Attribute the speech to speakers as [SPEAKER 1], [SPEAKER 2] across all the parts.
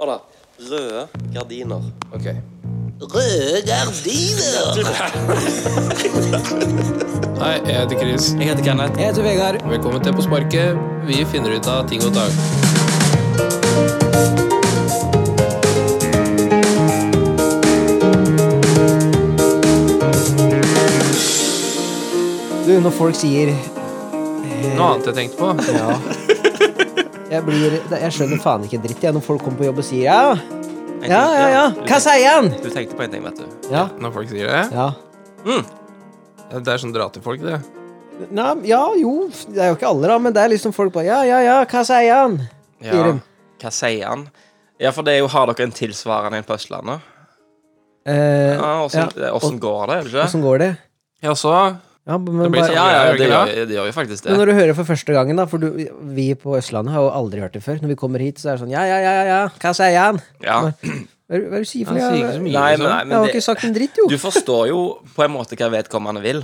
[SPEAKER 1] Hør da. Røde gardiner.
[SPEAKER 2] Ok.
[SPEAKER 1] Røde gardiner!
[SPEAKER 2] Hei, jeg heter Chris.
[SPEAKER 1] Jeg heter Kenneth.
[SPEAKER 3] Jeg heter Vegard.
[SPEAKER 2] Velkommen til På sparket. Vi finner ut av ting og tang.
[SPEAKER 3] Du, når folk sier
[SPEAKER 2] Noe annet jeg tenkte på.
[SPEAKER 3] ja Jeg blir Jeg skjønner faen ikke dritt, jeg, når folk kommer på jobb og sier ja. Ja, ja, ja. Hva sier han?
[SPEAKER 1] Du tenkte på en ting, vet du.
[SPEAKER 3] Ja.
[SPEAKER 2] Når folk sier det.
[SPEAKER 3] Ja.
[SPEAKER 2] Det er sånn dra til folk, det.
[SPEAKER 3] Nei, ja, jo. Det er jo ikke alle, da, men det er liksom folk bare Ja, ja, ja. Hva sier han? Sier de.
[SPEAKER 1] Hva sier han? Ja, for det er jo Har dere en tilsvarende en på Østlandet?
[SPEAKER 3] Eh,
[SPEAKER 1] Ja, Åssen
[SPEAKER 3] ja.
[SPEAKER 1] åssen går det? er det ikke?
[SPEAKER 3] Åssen går det?
[SPEAKER 2] Ja, så
[SPEAKER 3] Ja, men
[SPEAKER 2] blir
[SPEAKER 3] bare,
[SPEAKER 2] sånn.
[SPEAKER 1] Ja, ja,
[SPEAKER 2] Gjør det
[SPEAKER 1] det
[SPEAKER 2] ikke
[SPEAKER 1] gjør, det gjør jo faktisk
[SPEAKER 3] men
[SPEAKER 1] det.
[SPEAKER 3] når du hører for første gangen, da, for du, vi på Østlandet har jo aldri hørt det før. Når vi kommer hit, så er det sånn Ja, ja, ja, ja, ja. hva sier han?
[SPEAKER 1] Ja.
[SPEAKER 3] Hva er det- hva er det du sier for noe?
[SPEAKER 2] Han sier ikke så
[SPEAKER 3] Jeg,
[SPEAKER 2] mye.
[SPEAKER 1] Nei, men,
[SPEAKER 2] liksom.
[SPEAKER 1] nei,
[SPEAKER 3] jeg
[SPEAKER 1] men
[SPEAKER 3] har ikke
[SPEAKER 1] det,
[SPEAKER 3] sagt en dritt, jo.
[SPEAKER 1] du forstår jo på en måte hva vedkommende vil.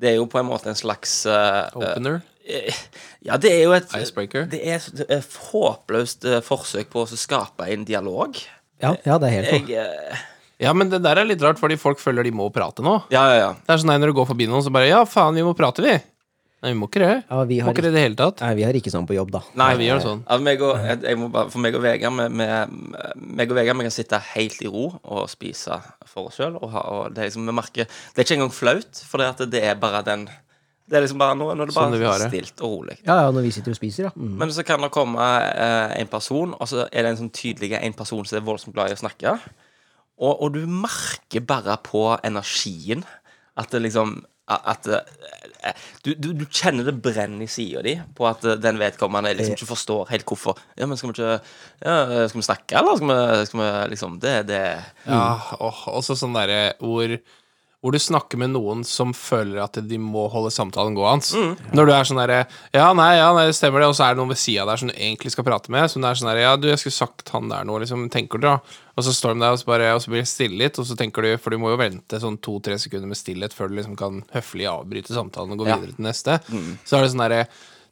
[SPEAKER 1] Det er jo på en måte en slags eh,
[SPEAKER 2] Opener.
[SPEAKER 1] eh, Ja, det er jo et
[SPEAKER 2] Icebreaker.
[SPEAKER 1] Det er et- et håpløst eh, forsøk på å skape en dialog.
[SPEAKER 3] Ja, ja, det er helt
[SPEAKER 1] Jeg eh,
[SPEAKER 2] Ja, men det der er litt rart, fordi folk føler de må prate nå.
[SPEAKER 1] Ja, ja, ja.
[SPEAKER 2] Det er sånn nei, når du går forbi noen, så bare Ja, faen, vi må prate, vi. Nei, vi må ikke det.
[SPEAKER 3] Ja, vi
[SPEAKER 2] Vi
[SPEAKER 3] har,
[SPEAKER 2] må ikke det i det hele tatt.
[SPEAKER 3] nei, vi har ikke sånn på jobb, da.
[SPEAKER 1] Nei,
[SPEAKER 2] vi gjør det sånn.
[SPEAKER 1] Ja, meg og, jeg, jeg må bare, for meg og Vegard vi- vi- meg og Vegard, vi kan sitte helt i ro og spise for oss sjøl. Og, ha- og det, er liksom, vi merker, det er ikke engang flaut, for det, at det er bare den Det er liksom bare nå, nå er det bare
[SPEAKER 2] Sånn det vi har det.
[SPEAKER 1] stilt og rolig.
[SPEAKER 3] Ja, ja, når vi sitter og spiser, ja. Mm.
[SPEAKER 1] Men så kan det komme eh, en person, og så er det en sånn tydelig en person som er voldsomt glad i å snakke. Og, og du merker bare på energien at det liksom at eh, eh, du, du, du kjenner det brenner i sida di på at eh, den vedkommende liksom ikke forstår helt hvorfor. Ja, men skal vi ikke ja, Skal vi snakke, eller skal vi, skal vi liksom Det det
[SPEAKER 2] Ja, åh, også sånn derre hvor hvor du snakker med noen som føler at de må holde samtalen gående.
[SPEAKER 1] Mm.
[SPEAKER 2] Når du er sånn derre Ja, nei, ja, nei, det stemmer det. Og så er det noen ved sida der som du egentlig skal prate med. Som det er sånn derre Ja, du, jeg skulle sagt han der nå, liksom. Tenker du, da? Og så står de der, og så, bare, og så blir det stille litt. Og så tenker du For du må jo vente sånn to-tre sekunder med stillhet før du liksom kan høflig avbryte samtalen og gå
[SPEAKER 1] Ja. Mm.
[SPEAKER 2] videre til neste. Så er det sånn derre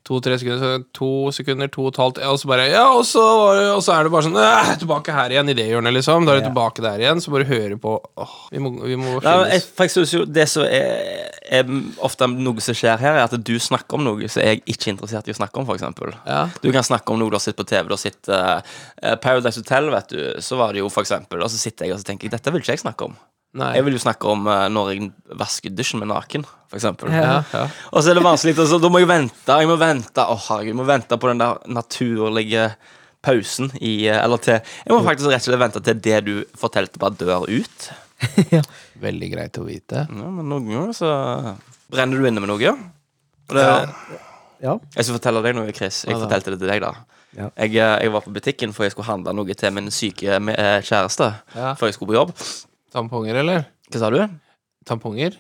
[SPEAKER 2] To-tre sekunder, så to sekunder, to og et halvt, ja, og så bare Ja, og så, var det- og så er det bare sånn «Æ, Tilbake her igjen, i det hjørnet, liksom. Da er det tilbake der igjen. Så bare høre på Åh, vi må, vi må
[SPEAKER 1] Nei, men
[SPEAKER 2] skilles.
[SPEAKER 1] jeg, for jeg synes jo Det som er, er ofte noe som skjer her, er at du snakker om noe som jeg ikke er interessert i å snakke om, f.eks.
[SPEAKER 2] Ja.
[SPEAKER 1] Du kan snakke om noe du har sett på TV. Du har sett eh, Paradise Hotel, vet du. Så var det jo for eksempel, Og så sitter jeg og så tenker jeg, dette vil ikke jeg snakke om.
[SPEAKER 2] Nei.
[SPEAKER 1] Jeg vil jo snakke om eh, når jeg vasker dusjen med naken, for eksempel.
[SPEAKER 2] ja, ja.
[SPEAKER 1] Og så er det vanskelig, og så da må jeg vente. Jeg må vente å herregud, jeg må vente på den der naturlige pausen i eh, Eller til Jeg må faktisk rett og slett vente til det du fortalte, bare dør ut.
[SPEAKER 2] Veldig greit å vite.
[SPEAKER 1] Ja, men noen ganger så brenner du inne med noe. Og det,
[SPEAKER 3] Ja.
[SPEAKER 1] Jeg skal fortelle deg noe, Chris. Jeg
[SPEAKER 2] Ja, da.
[SPEAKER 1] fortalte det til deg, da.
[SPEAKER 3] Ja.
[SPEAKER 1] Jeg, eh, jeg var på butikken for jeg skulle handle noe til min syke me- eh, kjæreste.
[SPEAKER 2] Ja.
[SPEAKER 1] Før jeg skulle på jobb.
[SPEAKER 2] Tamponger, eller?
[SPEAKER 1] Hva sa du?
[SPEAKER 2] Tamponger?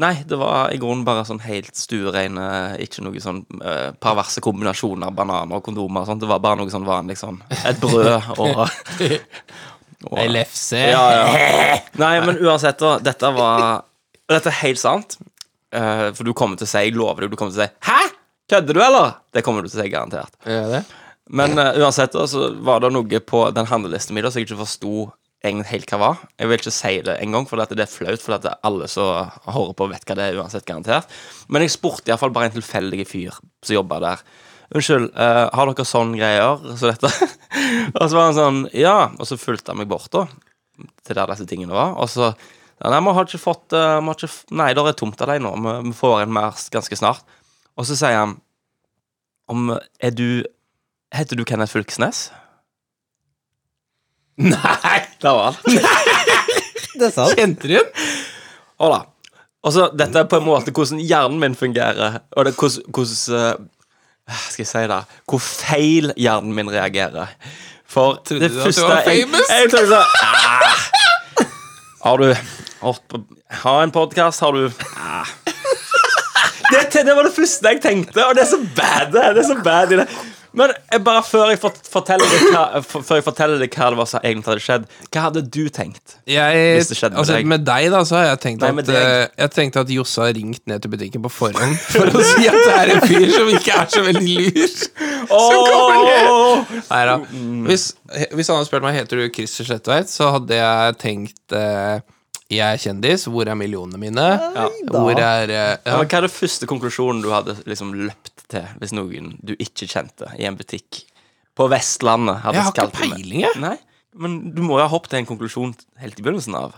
[SPEAKER 1] Nei, det var i grunnen bare sånn helt stuereine Ikke noe sånn eh, perverse kombinasjoner av bananer og kondomer og sånt. Det var bare noe sånn vanlig sånn Et brød og, og
[SPEAKER 2] Ei lefse?
[SPEAKER 1] Ja, ja. Nei, men uansett, da. Dette var og Dette er helt sant. Eh, for du kommer til å si, jeg lover deg, du kommer til å si 'Hæ? Kødder du, eller?' Det kommer du til å si garantert.
[SPEAKER 2] Gjør jeg det?
[SPEAKER 1] Men eh, uansett, da, så var det noe på den handlelisten min da, som jeg ikke forsto egentlig helt hva var. Jeg vil ikke si det engang, for at det er flaut, for at alle som hører på, vet hva det er uansett, garantert. Men jeg spurte iallfall bare en tilfeldig fyr som jobba der. Unnskyld, eh, har dere sånn greier som dette? og så var han sånn, ja. Og så fulgte han meg bort, da, til der disse tingene var. Og så ja, Nei, vi har ikke fått eh, vi har ikke, f- Nei, det er tomt av deg nå. Vi, vi får en mer s- ganske snart. Og så sier han om Er du Heter du Kenneth Fylkesnes?
[SPEAKER 2] Nei!
[SPEAKER 1] Der var han.
[SPEAKER 3] Det er sant.
[SPEAKER 2] Kjente du den?
[SPEAKER 1] Hold da. Og så, Altså, dette er på en måte hvordan hjernen min fungerer. Og det, hvordan, hvordan eh, Skal jeg si det? Hvor feil hjernen min reagerer. For
[SPEAKER 2] Trodde
[SPEAKER 1] det
[SPEAKER 2] du at du
[SPEAKER 1] første
[SPEAKER 2] var
[SPEAKER 1] jeg-
[SPEAKER 2] famous?
[SPEAKER 1] Jeg, tenkte sånn ah, Har du hørt på Har en podkast? Har du ah. det, det var det første jeg tenkte, og det er så bad det er. Det er så bad i det. Men jeg bare før jeg, fort- forteller deg hva, for, før jeg forteller deg hva det var som egentlig hadde skjedd, hva hadde du tenkt?
[SPEAKER 2] Jeg,
[SPEAKER 1] Hvis det skjedde med
[SPEAKER 2] altså,
[SPEAKER 1] deg.
[SPEAKER 2] med deg, da, så har jeg tenkt
[SPEAKER 1] Nei, med
[SPEAKER 2] at
[SPEAKER 1] deg.
[SPEAKER 2] eh, Jeg tenkte at Josse har ringt ned til butikken på forhånd for å si at det er en fyr som ikke er så veldig lur. Som kommer ned. Nei da.
[SPEAKER 1] Mm.
[SPEAKER 2] Hvis, hvis han hadde spurt meg heter du Christer Slettveit, så hadde jeg tenkt eh, Jeg er kjendis, hvor er millionene mine? Hvor
[SPEAKER 3] da.
[SPEAKER 2] er eh,
[SPEAKER 1] Ja,
[SPEAKER 2] ja.
[SPEAKER 1] men hva er det første konklusjonen du hadde liksom løpt til hvis noen du ikke kjente i en butikk på Vestlandet hadde
[SPEAKER 2] Jeg har ikke
[SPEAKER 1] skalt deg med?
[SPEAKER 2] peiling, jeg.
[SPEAKER 1] Nei, men du må jo ha hoppet til en konklusjon helt i begynnelsen av.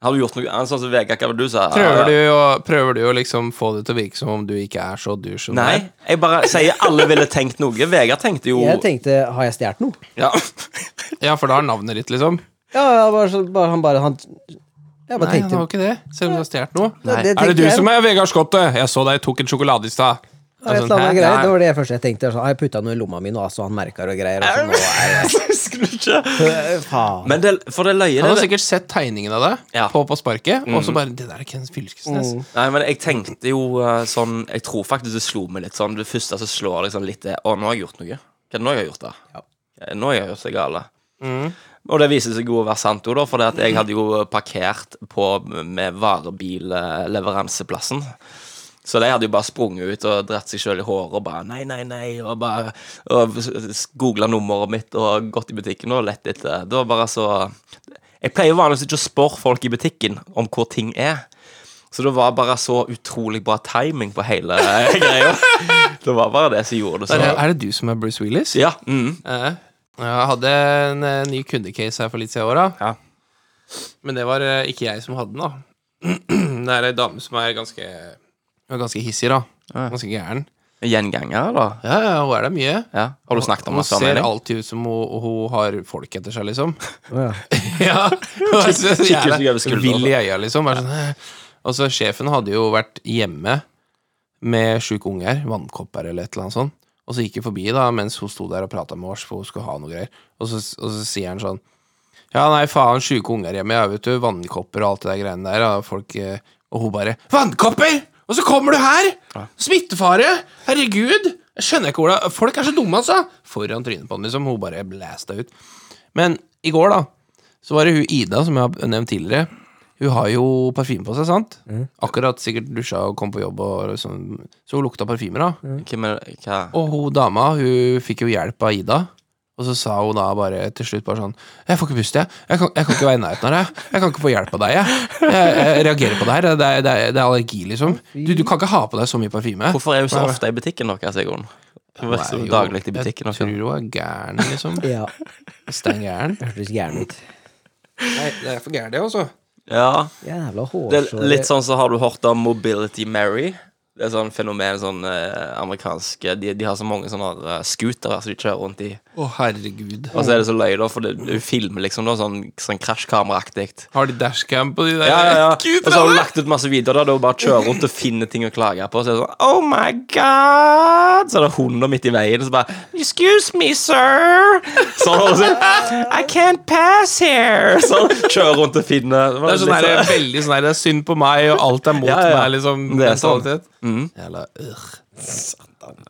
[SPEAKER 1] Har du gjort noe annet sånn som Vegard, hva var det du sa?
[SPEAKER 2] Prøver du, å, prøver du å liksom få det til å virke som om du ikke er så dur som du
[SPEAKER 1] Nei,
[SPEAKER 2] er?
[SPEAKER 1] jeg bare sier alle ville tenkt noe. Vegard tenkte jo
[SPEAKER 3] Jeg tenkte, har jeg stjålet noe?
[SPEAKER 1] ja.
[SPEAKER 2] Ja, for da har navnet ditt, liksom.
[SPEAKER 3] Ja, ja, bare, så, bare, han bare han, Jeg
[SPEAKER 2] Nei,
[SPEAKER 3] bare
[SPEAKER 2] han
[SPEAKER 3] tenkte
[SPEAKER 2] har jo ikke det, selv om du har stjålet noe.
[SPEAKER 3] Nei, det
[SPEAKER 2] Er det
[SPEAKER 3] tenkte
[SPEAKER 2] du
[SPEAKER 3] jeg.
[SPEAKER 2] som er Vegard Skottet? Jeg så deg tok en sjokolade i stad.
[SPEAKER 3] det
[SPEAKER 2] Altså,
[SPEAKER 3] var et
[SPEAKER 1] sånn
[SPEAKER 3] eller annet greier. Det var det første jeg tenkte. Så, har jeg putta noe i lomma mi nå, så han merker og greier. Og så nå er
[SPEAKER 1] Husker du ikke?
[SPEAKER 3] jeg, faen.
[SPEAKER 1] Men det, for det løye
[SPEAKER 2] Han har
[SPEAKER 1] det,
[SPEAKER 2] sikkert sett tegningen av deg
[SPEAKER 1] Ja.
[SPEAKER 2] på På sparket, og så bare Det der er Ken Fylkesnes.
[SPEAKER 3] Mm.
[SPEAKER 1] Nei, men jeg tenkte jo eh, sånn Jeg tror faktisk det slo meg litt sånn. Det første som slår deg sånn litt, er Å, nå har jeg gjort noe. Hva er det nå jeg har gjort, da?
[SPEAKER 3] Ja.
[SPEAKER 1] Eh, Nå har jeg gjort det gale.
[SPEAKER 2] Mm.
[SPEAKER 1] Og det viser seg jo å være sant, jo, da, for det at jeg hadde jo parkert på med varebilleveranseplassen. Så de hadde jo bare sprunget ut og dratt seg sjøl i håret og bare nei, nei, nei, og bare og googla nummeret mitt og gått i butikken og lett etter. Det var bare så Jeg pleier jo vanligvis ikke å spørre folk i butikken om hvor ting er. Så det var bare så utrolig bra timing på hele greia. Det var bare det som gjorde det
[SPEAKER 2] Er, det,
[SPEAKER 1] så
[SPEAKER 2] er det du som er Bruce Willis?
[SPEAKER 1] Ja. Mm.
[SPEAKER 2] Eh, Jeg hadde en eh, ny kundecase her for litt siden i åra,
[SPEAKER 1] ja.
[SPEAKER 2] men det var eh, ikke jeg som hadde den, da. Det er ei dame som er ganske hun er Ganske hissig, da. Ganske gæren.
[SPEAKER 1] Gjenganger, da?
[SPEAKER 2] Ja, ja, hun er der mye.
[SPEAKER 1] Ja. Har du snakket om
[SPEAKER 2] Hun
[SPEAKER 1] det før? mener
[SPEAKER 2] ser
[SPEAKER 1] jeg?
[SPEAKER 2] alltid ut som hun, hun har folk etter seg, liksom.
[SPEAKER 3] Å, ja.
[SPEAKER 2] Ja,
[SPEAKER 1] kikker seg over skulderen.
[SPEAKER 2] Vill i øya, liksom. Bare sånn, «Hæ?» Og så sjefen hadde jo vært hjemme med sjuk unge her, vannkopper eller et eller annet sånt. Og så gikk hun forbi da, mens hun sto der og prata med oss, for hun skulle ha noe greier. Og så, og så sier han sånn Ja, nei, faen, sjuke unger hjemme, ja, vet du. Vannkopper og alt det der greiene der. Og, folk, eh, og hun bare Vannkopper! Og så kommer du her! Smittefare! Herregud! Jeg skjønner ikke hvordan Folk er så dumme, altså! Foran trynet på henne, liksom. Hun bare blæsta ut. Men i går, da, så var det hun Ida, som jeg har nevnt tidligere. Hun har jo parfyme på seg, sant? Akkurat sikkert dusja og kom på jobb, og sånn. så hun lukta parfymer, da.
[SPEAKER 1] Hvem er hva?
[SPEAKER 2] Og hun dama, hun fikk jo hjelp av Ida. Og så sa hun da bare til slutt bare sånn 'Jeg får ikke pust, jeg. Jeg kan, jeg kan ikke være i nærheten av deg. Jeg kan ikke få hjelp av deg, jeg. Jeg, jeg reagerer på det her. Det er, det er, det er allergi, liksom. Du, du kan ikke ha på deg så mye parfyme.
[SPEAKER 1] Hvorfor er hun så ofte i butikken deres, Sigrun? Hun er så
[SPEAKER 2] Nei, jo,
[SPEAKER 1] daglig i butikken altså?
[SPEAKER 2] Jeg tror
[SPEAKER 1] deres.
[SPEAKER 2] hun er gæren, liksom.
[SPEAKER 3] ja.
[SPEAKER 2] Stein gæren.
[SPEAKER 3] Hørtes gæren ut.
[SPEAKER 2] Nei, det er for gæren, det, altså.
[SPEAKER 1] Ja.
[SPEAKER 3] Jævla
[SPEAKER 1] Det
[SPEAKER 3] hårsår.
[SPEAKER 1] er litt sånn så har du hørt om Mobility Mary. Det er sånn fenomen sånn eh, amerikansk de, de har så mange sånne eh, scootere som de kjører rundt i.
[SPEAKER 2] Å, herregud.
[SPEAKER 1] Og så er det så løye, da, for det, du filmer liksom da sånn, sånn krasjkameraaktig.
[SPEAKER 2] Har de dashcam på de der?
[SPEAKER 1] Ja, ja, ja.
[SPEAKER 2] Gud,
[SPEAKER 1] Og så har du
[SPEAKER 2] det er-
[SPEAKER 1] lagt ut masse videoer der du bare kjører rundt og finner ting å klage på. Og så er det sånn Oh my God! Så er det hunder midt i veien, og så bare Excuse me, sir! Sånn, og så, I can't pass here! Sånn, kjører rundt og finner
[SPEAKER 2] Det er sånn her, veldig sånn her, det er synd på meg, og alt er
[SPEAKER 1] liksom.
[SPEAKER 2] mot
[SPEAKER 1] Ja, ja, ja.
[SPEAKER 2] meg, liksom.
[SPEAKER 1] Det er sånn.
[SPEAKER 2] mentalitet. Jævla ørr.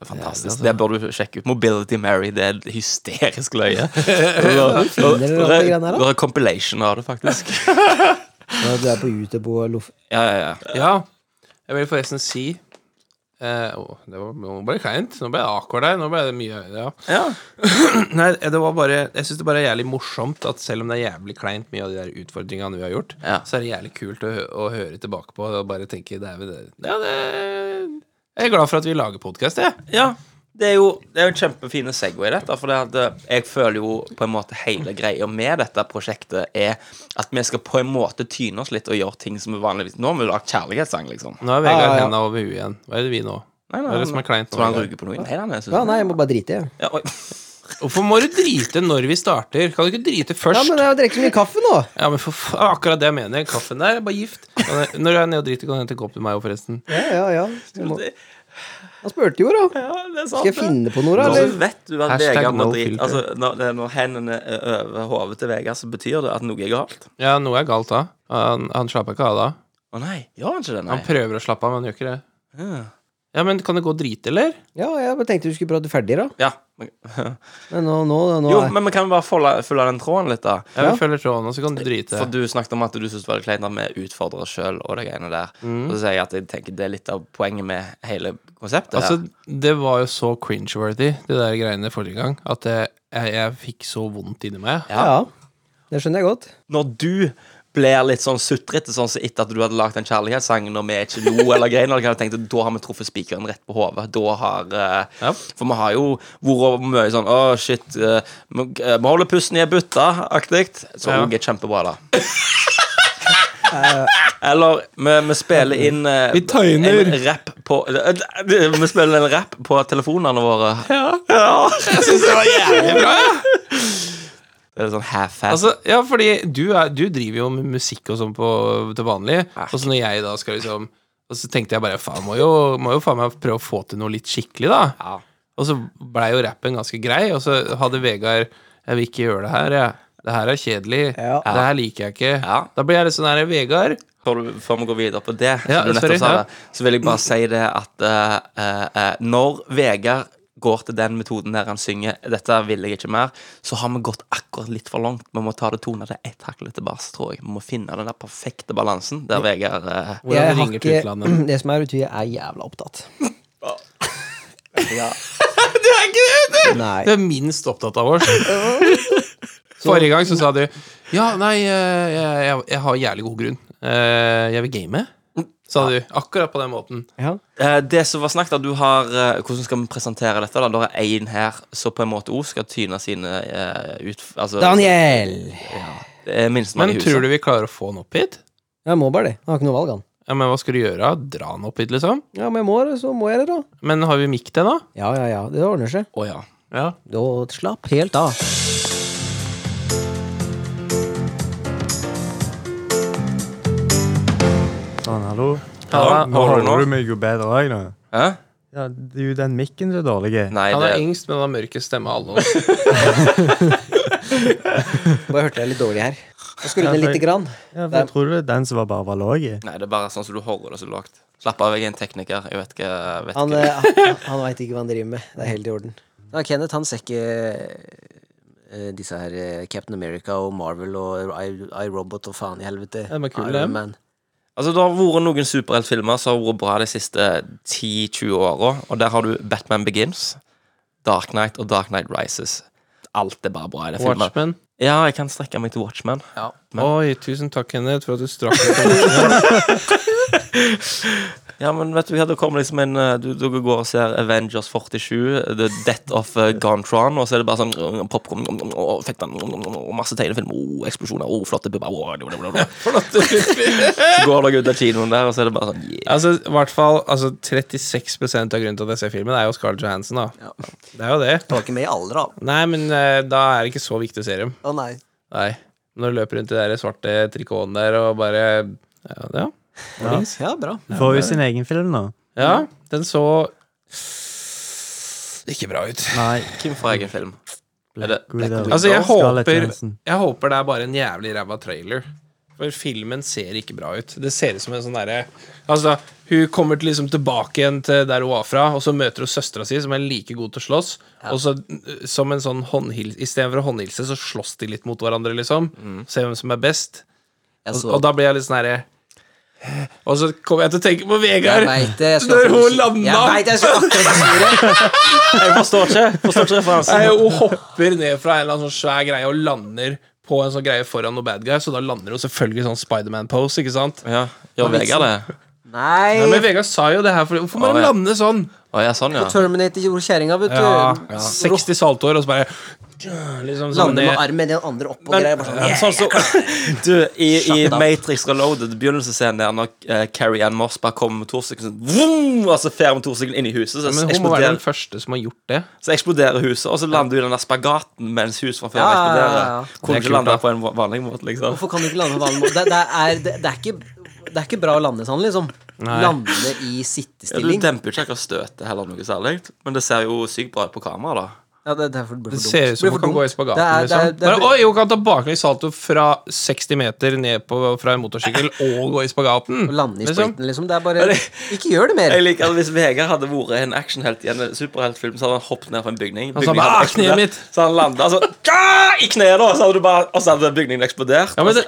[SPEAKER 1] Fantastisk. Det bør du sjekke ut. Mobility Mary, det er et hysterisk løye.
[SPEAKER 3] finner du alt det greiene her, da?
[SPEAKER 1] Det er compilation av det, faktisk. sånn-
[SPEAKER 3] Når du er på YouTube og loff...
[SPEAKER 1] Ja, ja, ja.
[SPEAKER 2] Ja. Jeg vil forresten si eh, å, det var, Nå ble det kleint. Nå ble det akkurat der. Nå ble det mye ja.
[SPEAKER 1] ja.
[SPEAKER 2] Nei, det var bare Jeg syns det bare er jævlig morsomt at selv om det er jævlig kleint, mye av de der utfordringene vi har gjort,
[SPEAKER 1] Ja.
[SPEAKER 2] så er det jævlig kult å, hø- å høre tilbake på og bare tenke det er, vel det, ja, det, Jeg er glad for at vi lager podkast, jeg.
[SPEAKER 1] Ja, det er jo, det er jo en kjempefine segway dette, for det at eh, jeg føler jo på en måte hele greia med dette prosjektet er at vi skal på en måte tyne oss litt og gjøre ting som vi vanligvis Nå har vi lagd kjærlighetssang, liksom.
[SPEAKER 2] Nå er Vegard
[SPEAKER 3] Ja, ja, ja.
[SPEAKER 2] henda over huet igjen. Hva er det vi nå?
[SPEAKER 1] Nei,
[SPEAKER 2] Hva er det som er kleint
[SPEAKER 1] Tror han
[SPEAKER 2] nå?
[SPEAKER 1] ruger på noe? Nei, nei, nei, jeg synes
[SPEAKER 3] Ja, nei, jeg må bare drite i det.
[SPEAKER 1] Ja, oi.
[SPEAKER 2] Hvorfor må du drite når vi starter? Kan du ikke drite først?
[SPEAKER 3] Ja, men jeg har drukket så mye kaffe nå!
[SPEAKER 2] Ja, men for fa- akkurat det jeg mener. Kaffen der er bare gift. Kan jeg- Når jeg er nede og driter, kan du hente en kopp til meg òg, forresten.
[SPEAKER 3] Ja, ja, ja. Du må-
[SPEAKER 1] det-
[SPEAKER 3] Han spurte jo, da.
[SPEAKER 1] Ja, det er sant,
[SPEAKER 3] Skal jeg
[SPEAKER 1] det.
[SPEAKER 3] finne på noe, da?
[SPEAKER 1] Nå
[SPEAKER 3] Eller?
[SPEAKER 1] vet du at
[SPEAKER 2] Hashtag
[SPEAKER 1] Vegard må
[SPEAKER 2] no
[SPEAKER 1] drite
[SPEAKER 2] filter.
[SPEAKER 1] Altså, når, når hendene er over hodet til Vegard, så betyr det at noe er galt.
[SPEAKER 2] Ja, noe er galt da. Han, han slapper ikke av da.
[SPEAKER 1] Å nei, gjør han ikke det? Nei.
[SPEAKER 2] Han prøver å slappe av, men han gjør ikke det.
[SPEAKER 1] Ja.
[SPEAKER 2] Ja, men kan det gå drit, eller?
[SPEAKER 3] Ja, jeg bare tenkte du skulle prate ferdig, da.
[SPEAKER 1] Ja.
[SPEAKER 3] Men nå, nå, nå
[SPEAKER 1] Jo,
[SPEAKER 3] er-
[SPEAKER 1] men vi kan bare følge, følge den tråden litt, da.
[SPEAKER 2] Jeg
[SPEAKER 3] Ja.
[SPEAKER 2] følger tråden, og så kan du drite.
[SPEAKER 1] For du snakket om at du syntes det var litt kleint at vi utfordrer oss sjøl og det greiene der.
[SPEAKER 2] Mm.
[SPEAKER 1] Og så sier jeg at jeg tenker det er litt av poenget med hele konseptet.
[SPEAKER 2] Altså,
[SPEAKER 1] her.
[SPEAKER 2] det var jo så cringe-worthy, de der greiene forrige gang, at jeg, jeg, jeg fikk så vondt inni meg.
[SPEAKER 1] ja.
[SPEAKER 3] Ja. Det skjønner jeg godt.
[SPEAKER 1] Når du blir litt sånn sutrete sånn som etter at du hadde lagd en kjærlighetssang når vi ikke lo eller greier, når jeg tenkte da har vi truffet spikeren rett på hodet. Da har eh,
[SPEAKER 2] Ja.
[SPEAKER 1] For vi har jo vært over mye sånn Å, shit. eh, vi eh, vi holder pusten i ei bøtte-aktig. Så
[SPEAKER 2] Ja.
[SPEAKER 1] òg er kjempebra, da. Eller vi, vi spiller inn eh,
[SPEAKER 2] Vi tøyner.
[SPEAKER 1] en rap på eh, Vi spiller en rap på telefonene våre.
[SPEAKER 2] Ja.
[SPEAKER 1] Ja.
[SPEAKER 2] Det var jævlig bra, ja.
[SPEAKER 1] Det er sånn half-half.
[SPEAKER 2] Altså, ja, fordi du, er, du driver jo med musikk og sånn på, til vanlig.
[SPEAKER 1] Ja.
[SPEAKER 2] Og så når jeg da skal liksom Og så tenkte jeg bare faen, må jo, må jo faen meg prøve å få til noe litt skikkelig, da.
[SPEAKER 1] Ja.
[SPEAKER 2] Og så blei jo rappen ganske grei, og så hadde Vegard Jeg vil ikke gjøre det her, jeg. Det her er kjedelig.
[SPEAKER 3] Ja.
[SPEAKER 2] Det her liker jeg ikke.
[SPEAKER 1] Ja.
[SPEAKER 2] Da blir jeg litt sånn her Vegard.
[SPEAKER 1] før, du- før vi går videre på det,
[SPEAKER 2] Ja,
[SPEAKER 1] som du nettopp
[SPEAKER 2] sorry,
[SPEAKER 1] sa
[SPEAKER 2] ja.
[SPEAKER 1] det, så vil jeg bare si det at eh, eh, eh, når Vegard går til den metoden der han synger 'Dette vil jeg ikke mer', så har vi gått akkurat litt for langt. Vi må ta det tone det ett hakk litt tilbake, tror jeg. Vi må finne den der perfekte balansen der Vegard eh,
[SPEAKER 2] Hvordan vi
[SPEAKER 3] Jeg har
[SPEAKER 2] ringer til utlandet.
[SPEAKER 3] ikke, det som er utvidet, er jævla opptatt.
[SPEAKER 1] ja.
[SPEAKER 2] Du er ikke det, vet du!
[SPEAKER 3] Nei.
[SPEAKER 2] Du er minst opptatt av oss. Forrige gang så sa du Ja, nei, eh, jeg, jeg, jeg har jævlig god grunn. Eh, Jeg vil game. Sa du. Akkurat på den måten.
[SPEAKER 3] Ja.
[SPEAKER 1] Eh, Det som var snakket, at du har eh, Hvordan skal vi presentere dette? da? Det er én her som på en måte òg skal tyne sine eh, ut... Altså, eh,
[SPEAKER 3] Daniel!
[SPEAKER 1] det er minstemann
[SPEAKER 2] Men
[SPEAKER 1] i huset.
[SPEAKER 2] tror du vi klarer å få han opp hit?
[SPEAKER 3] Jeg må bare det. Jeg har ikke noe valg, han.
[SPEAKER 2] Ja, men Hva skal du gjøre? Dra han opp hit, liksom?
[SPEAKER 3] Ja, men jeg må det, så må jeg det, da.
[SPEAKER 2] Men har vi mikk til nå?
[SPEAKER 3] Ja, ja, ja. Det ordner seg.
[SPEAKER 1] Å ja.
[SPEAKER 2] Ja.
[SPEAKER 3] Da slapp helt av.
[SPEAKER 4] Sånn, hallo.
[SPEAKER 1] Halla,
[SPEAKER 4] nå
[SPEAKER 1] hører du nå?
[SPEAKER 4] hører du meg jo bedre òg, nå.
[SPEAKER 1] Hæ?
[SPEAKER 4] Ja, det er jo den mikken som er dårlig.
[SPEAKER 1] Nei,
[SPEAKER 2] Han
[SPEAKER 1] det
[SPEAKER 2] er yngst, men han har mørkest stemme av alle oss.
[SPEAKER 3] Bare hørte jeg litt dårlig her. Jeg skulle ned lite grann.
[SPEAKER 4] Ja, for jeg tror det er den som var bare var lav.
[SPEAKER 1] Nei, det er bare sånn som du hører det så lavt. Slapp av, jeg er en tekniker. Jeg vet ikke, jeg vet
[SPEAKER 3] Han,
[SPEAKER 1] ikke.
[SPEAKER 3] eh, han, han veit ikke hva han driver med. Det er helt i orden.
[SPEAKER 5] Ja, Kenneth han ser ikke eh, disse her eh, Captain America og Marvel og I, I Robot og faen i helvete.
[SPEAKER 2] Ja, men kul,
[SPEAKER 5] Iron
[SPEAKER 2] dem.
[SPEAKER 5] Man.
[SPEAKER 1] Altså, Det har vært noen superheltfilmer som har vært bra de siste 10-20 åra. Og der har du Batman Begins, Dark Knight og Dark Knight Rises. Alt er bare bra i det filmen.
[SPEAKER 2] Watchmen.
[SPEAKER 1] Ja, jeg kan strekke meg til Watchman.
[SPEAKER 2] Ja. Oi, tusen takk, Kenneth, for at du strakk deg.
[SPEAKER 1] Ja, men vet du hva, det kommer liksom en eh, du, du går og ser Avengers 47, The Death of eh, Gontron, og så er det bare sånn mm, popcorn, mm, mm, og fettan, mm, mm, og masse tegnefilm, og eksplosjoner, og flotte pupper og- Så går dere ut av kinoen der, og så er det bare sånn yeah.
[SPEAKER 2] Altså, i hvert fall altså, 36 av grunnen til at jeg ser filmen, er jo Scarlett Johansen, da. Det er jo det.
[SPEAKER 5] Du var ikke med i alder, da.
[SPEAKER 2] Nei, men eh, da er det ikke så viktig å se dem.
[SPEAKER 5] Å nei.
[SPEAKER 2] Nei. Når du løper rundt i de der svarte trikotene der og bare Ja. ja.
[SPEAKER 4] Ja.
[SPEAKER 5] Ja, bra.
[SPEAKER 4] Får jo sin egen film nå.
[SPEAKER 2] ja
[SPEAKER 1] Mm.
[SPEAKER 2] den så ikke bra ut.
[SPEAKER 4] Nei.
[SPEAKER 1] Hvem får egen film? Er det
[SPEAKER 4] Widow.
[SPEAKER 2] Altså, jeg
[SPEAKER 4] Scarlett
[SPEAKER 2] håper,
[SPEAKER 4] Johansson.
[SPEAKER 2] jeg håper det er bare en jævlig ræva trailer. For filmen ser ikke bra ut. Det ser ut som en sånn derre Altså, hun kommer til, liksom tilbake igjen til der hun var fra, og så møter hun søstera si, som er like god til å slåss, og så øh, som en sånn håndhils Istedenfor å håndhilse, så slåss de litt mot hverandre, liksom. Se hvem som er best.
[SPEAKER 5] Jeg
[SPEAKER 2] Og,
[SPEAKER 5] så
[SPEAKER 2] og da blir jeg litt sånn herre Og så kommer jeg til å tenke på Vegard!
[SPEAKER 5] Jeg vet det. Jeg skal
[SPEAKER 2] Når hun
[SPEAKER 5] akkurat-
[SPEAKER 2] landa!
[SPEAKER 5] Jeg vet, jeg skal akkurat si det.
[SPEAKER 1] Jeg forstår ikke forstår ikke referansen.
[SPEAKER 2] Nei, Eh, hun hopper ned fra en eller annen sånn svær greie og lander på en sånn greie foran noen bad guys, og da lander hun selvfølgelig i sånn Spiderman-pose, ikke sant?
[SPEAKER 1] Ja, Gjør Vegard det?
[SPEAKER 2] Ja, men
[SPEAKER 5] Nei.
[SPEAKER 2] Vegard sa jo det her, for hvorfor må
[SPEAKER 1] Ja,
[SPEAKER 2] de
[SPEAKER 1] ja.
[SPEAKER 2] lande sånn?
[SPEAKER 1] Å ja, sånn, ja.
[SPEAKER 5] Terminator gjorde kjerringa, vet du.
[SPEAKER 2] Ja,
[SPEAKER 5] Ja.
[SPEAKER 2] 60 saltår, og så bare ja, liksom sånn
[SPEAKER 5] Lande med
[SPEAKER 2] ned.
[SPEAKER 5] armen i den andre opp og
[SPEAKER 1] Men-
[SPEAKER 5] greier. Bare sånn,
[SPEAKER 1] Ja,
[SPEAKER 5] yeah.
[SPEAKER 1] sånn som- du, i, i
[SPEAKER 5] Shut up. Matrix
[SPEAKER 1] Matrix Reloaded, begynnelsesscenen der når eh, Carrie Ann Moss bare kommer med motorsykkelen sånn, vroom, og så fer motorsykkelen inn i huset, så,
[SPEAKER 2] Men hun må
[SPEAKER 1] eksploderer,
[SPEAKER 2] være den første som har gjort det.
[SPEAKER 1] så eksploderer huset, og så lander du i den der spagaten mens huset fra før
[SPEAKER 5] Ja, ja, ja,
[SPEAKER 1] eksploderer.
[SPEAKER 5] ja.
[SPEAKER 1] Kunne
[SPEAKER 2] Det er
[SPEAKER 1] ikke
[SPEAKER 2] kult, da.
[SPEAKER 1] landa på en va- vanlig måte, liksom.
[SPEAKER 5] Hvorfor kan du ikke lande på vanlig måte? Det, det, er, det, det, er ikke, det er ikke bra å lande sånn, liksom.
[SPEAKER 2] Nei.
[SPEAKER 5] Lande i
[SPEAKER 1] Ja, du
[SPEAKER 5] sittestilling.
[SPEAKER 1] demper jo ikke akkurat støtet heller noe særlig, men det ser jo sykt bra ut på kamera, da.
[SPEAKER 3] Ja, det, det er for, blir
[SPEAKER 2] Det
[SPEAKER 3] for
[SPEAKER 2] ser ut
[SPEAKER 3] dumt.
[SPEAKER 2] som
[SPEAKER 3] Blir
[SPEAKER 2] hun
[SPEAKER 3] for
[SPEAKER 2] kan
[SPEAKER 3] dumt.
[SPEAKER 2] gå i spagaten.
[SPEAKER 3] Det er- det er-
[SPEAKER 2] liksom.
[SPEAKER 3] det er-
[SPEAKER 2] Bare, Oi, hun kan ta baklengs salto fra 60 meter ned på, fra en motorsykkel og gå i spagaten.
[SPEAKER 3] Å lande i
[SPEAKER 2] liksom.
[SPEAKER 3] spriten, liksom. Det er bare Ikke gjør det mer!
[SPEAKER 1] Jeg liker at Hvis Vegard hadde vært en actionhelt i en superheltfilm, så hadde han hoppet ned fra en bygning.
[SPEAKER 2] Han sa
[SPEAKER 1] Bygningen
[SPEAKER 2] bare,
[SPEAKER 1] hadde
[SPEAKER 2] «Ah, kneet
[SPEAKER 1] eksplodert».
[SPEAKER 2] mitt!
[SPEAKER 1] Så han landa sånn «Ah!» i kneet, da, og så hadde, du bare, og så hadde bygningen eksplodert.
[SPEAKER 2] Ja, men det,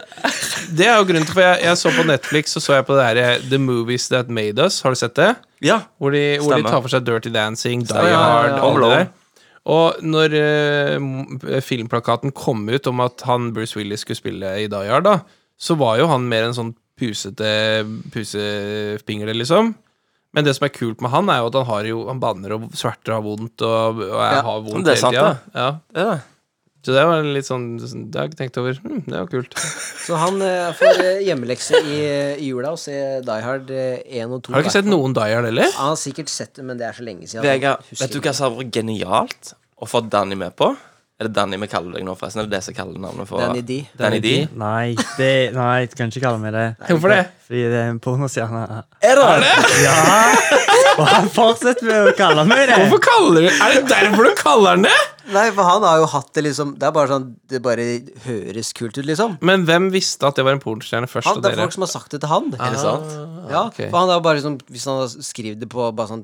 [SPEAKER 2] det er jo grunnen til For jeg, jeg så på Netflix så så jeg på det her eh, The Movies That Made Us. Har du sett det?
[SPEAKER 1] ja.
[SPEAKER 2] Hvor de, hvor de
[SPEAKER 1] Stemmer.
[SPEAKER 2] tar for seg Dirty Dancing, Die
[SPEAKER 1] Ja, ja, ja,
[SPEAKER 2] Hard
[SPEAKER 1] ja.
[SPEAKER 2] og
[SPEAKER 1] Home
[SPEAKER 2] det
[SPEAKER 1] Alone.
[SPEAKER 2] der. Og når eh, m- filmplakaten kom ut om at han Bruce Willis skulle spille i Die Hard, da, så var jo han mer en sånn pusete pusepingle, liksom. Men det som er kult med han, er jo at han har jo Han banner og sverter og har vondt og, og er,
[SPEAKER 3] Ja,
[SPEAKER 2] har vondt
[SPEAKER 1] det er sant,
[SPEAKER 2] hele
[SPEAKER 1] det.
[SPEAKER 2] tida. Ja.
[SPEAKER 1] Det er det.
[SPEAKER 2] Så det var litt sånn Det har jeg ikke tenkt over. Hm, det var kult.
[SPEAKER 3] Så han eh, får eh, hjemmelekse i, i jula og se
[SPEAKER 5] eh,
[SPEAKER 3] Die Hard 1 og 2.
[SPEAKER 2] Har du ikke sett noen Die Hard heller?
[SPEAKER 3] Han har sikkert sett det, men det er så lenge siden.
[SPEAKER 1] Vegard,
[SPEAKER 3] Jeg husker
[SPEAKER 1] vet du
[SPEAKER 3] ikke.
[SPEAKER 1] hva som hadde vært genialt å få Danny med på? Er det Danny vi kaller deg nå, forresten? Er det det som kaller navnet for
[SPEAKER 3] Danny D.
[SPEAKER 1] Danny D?
[SPEAKER 4] Nei, det, nei, du kan ikke kalle meg det.
[SPEAKER 2] Hvorfor det?
[SPEAKER 4] Fordi det er en pornostjerne.
[SPEAKER 1] Er det?
[SPEAKER 4] Ja! Og han fortsetter med å kalle meg det.
[SPEAKER 2] Hvorfor kaller du Er det derfor du kaller den det?
[SPEAKER 3] Nei, for han har jo hatt det liksom Det er bare sånn Det bare høres kult ut, liksom.
[SPEAKER 2] Men hvem visste at det var en pornostjerne først?
[SPEAKER 3] Han,
[SPEAKER 2] og
[SPEAKER 3] det er
[SPEAKER 2] dere?
[SPEAKER 3] folk som har sagt det til han.
[SPEAKER 1] Er det sant?
[SPEAKER 3] Ja,
[SPEAKER 2] ok.
[SPEAKER 3] for han er jo bare liksom Hvis han har skrevet det på Bare sånn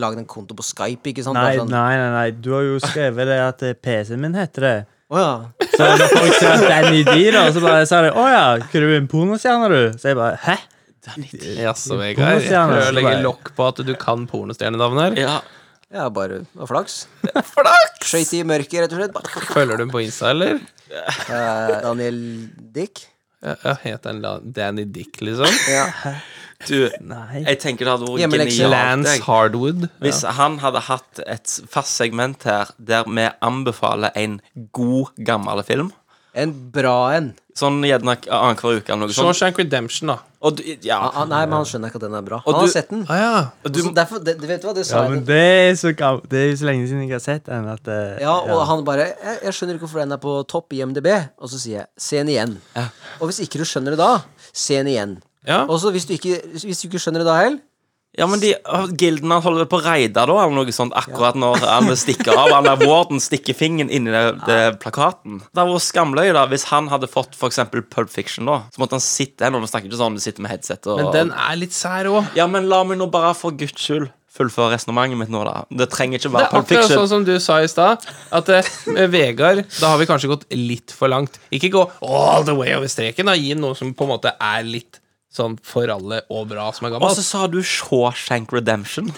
[SPEAKER 3] Lagd en konto på Skype, ikke sant?
[SPEAKER 4] Nei,
[SPEAKER 3] Bare
[SPEAKER 4] nei,
[SPEAKER 3] sånn,
[SPEAKER 4] nei, nei. Du har jo skrevet det at eh, PC-en min heter det.
[SPEAKER 3] Å ja.
[SPEAKER 4] Så når folk sier at Danny D, da, så bare sa de 'Å ja, hva er du en pornostjerne, du?' Så jeg bare 'Hæ?'
[SPEAKER 2] Jaså, Vegard. Jeg
[SPEAKER 4] Pornostjerne,
[SPEAKER 2] prøver å legge
[SPEAKER 4] så bare-
[SPEAKER 2] lokk på at du kan pornostjernenavn her.
[SPEAKER 1] Ja.
[SPEAKER 3] Ja, bare det var flaks.
[SPEAKER 2] Flaks!
[SPEAKER 3] Skøyt i mørket, rett og slett. Bare-
[SPEAKER 2] Følger du den på Insta, eller?
[SPEAKER 3] Eh, Daniel Dick.
[SPEAKER 2] Ja, ja, Heter han La- Danny Dick, liksom?
[SPEAKER 3] Ja.
[SPEAKER 1] Du,
[SPEAKER 4] Nei.
[SPEAKER 1] jeg tenker det hadde vært
[SPEAKER 3] Hjemmelekse.
[SPEAKER 1] genialt.
[SPEAKER 2] Lance
[SPEAKER 1] jeg.
[SPEAKER 2] Hardwood.
[SPEAKER 1] Hvis han hadde hatt et fast segment her der vi anbefaler en god, gammel film
[SPEAKER 3] En bra en.
[SPEAKER 1] Sånn gjerne annenhver uke eller noe sånt.
[SPEAKER 2] Shawshank Redemption, da.
[SPEAKER 1] Og du, ja.
[SPEAKER 3] Ah, ah, nei, men han skjønner ikke at den er bra.
[SPEAKER 1] Og
[SPEAKER 3] Han har
[SPEAKER 1] du-
[SPEAKER 3] sett den.
[SPEAKER 2] Ah, ja.
[SPEAKER 3] Og så derfor, det, det- vet du hva, det sa
[SPEAKER 4] Ja,
[SPEAKER 3] jeg
[SPEAKER 4] men det er, så gam det er jo så lenge siden jeg har sett den at eh,
[SPEAKER 3] Ja, og han bare jeg, 'Jeg skjønner ikke hvorfor den er på topp i MDB.' Og så sier jeg 'Se den igjen'. Og hvis ikke du skjønner det da, se den igjen.
[SPEAKER 2] ja.
[SPEAKER 3] Og så hvis du ikke, hvis du ikke skjønner det da heller
[SPEAKER 1] ja, men de, øh, gilden hans holder vel på å raide, da, eller noe sånt, akkurat når alle stikker av. Han der Warden stikker fingeren inni det, det plakaten. Det hadde vært skamløye da, hvis han hadde fått for eksempel Pulp Fiction, da. Så måtte han sitte her, nå snakker ikke sånn, du sitter med headset og
[SPEAKER 2] Men den er litt sær òg.
[SPEAKER 1] Ja, men la meg nå bare for guds skyld fullføre resonnementet mitt nå, da. Det trenger ikke
[SPEAKER 2] Det
[SPEAKER 1] være
[SPEAKER 2] er
[SPEAKER 1] Pulp
[SPEAKER 2] akkurat
[SPEAKER 1] Fiction.
[SPEAKER 2] sånn som du sa i stad, at eh, med Vegard Da har vi kanskje gått litt for langt. Ikke gå all the way over streken. Da. Gi ham noe som på en måte er litt sånn for alle og bra, som er
[SPEAKER 1] Og
[SPEAKER 2] gammelt.
[SPEAKER 1] så sa du Shawshank Redemption.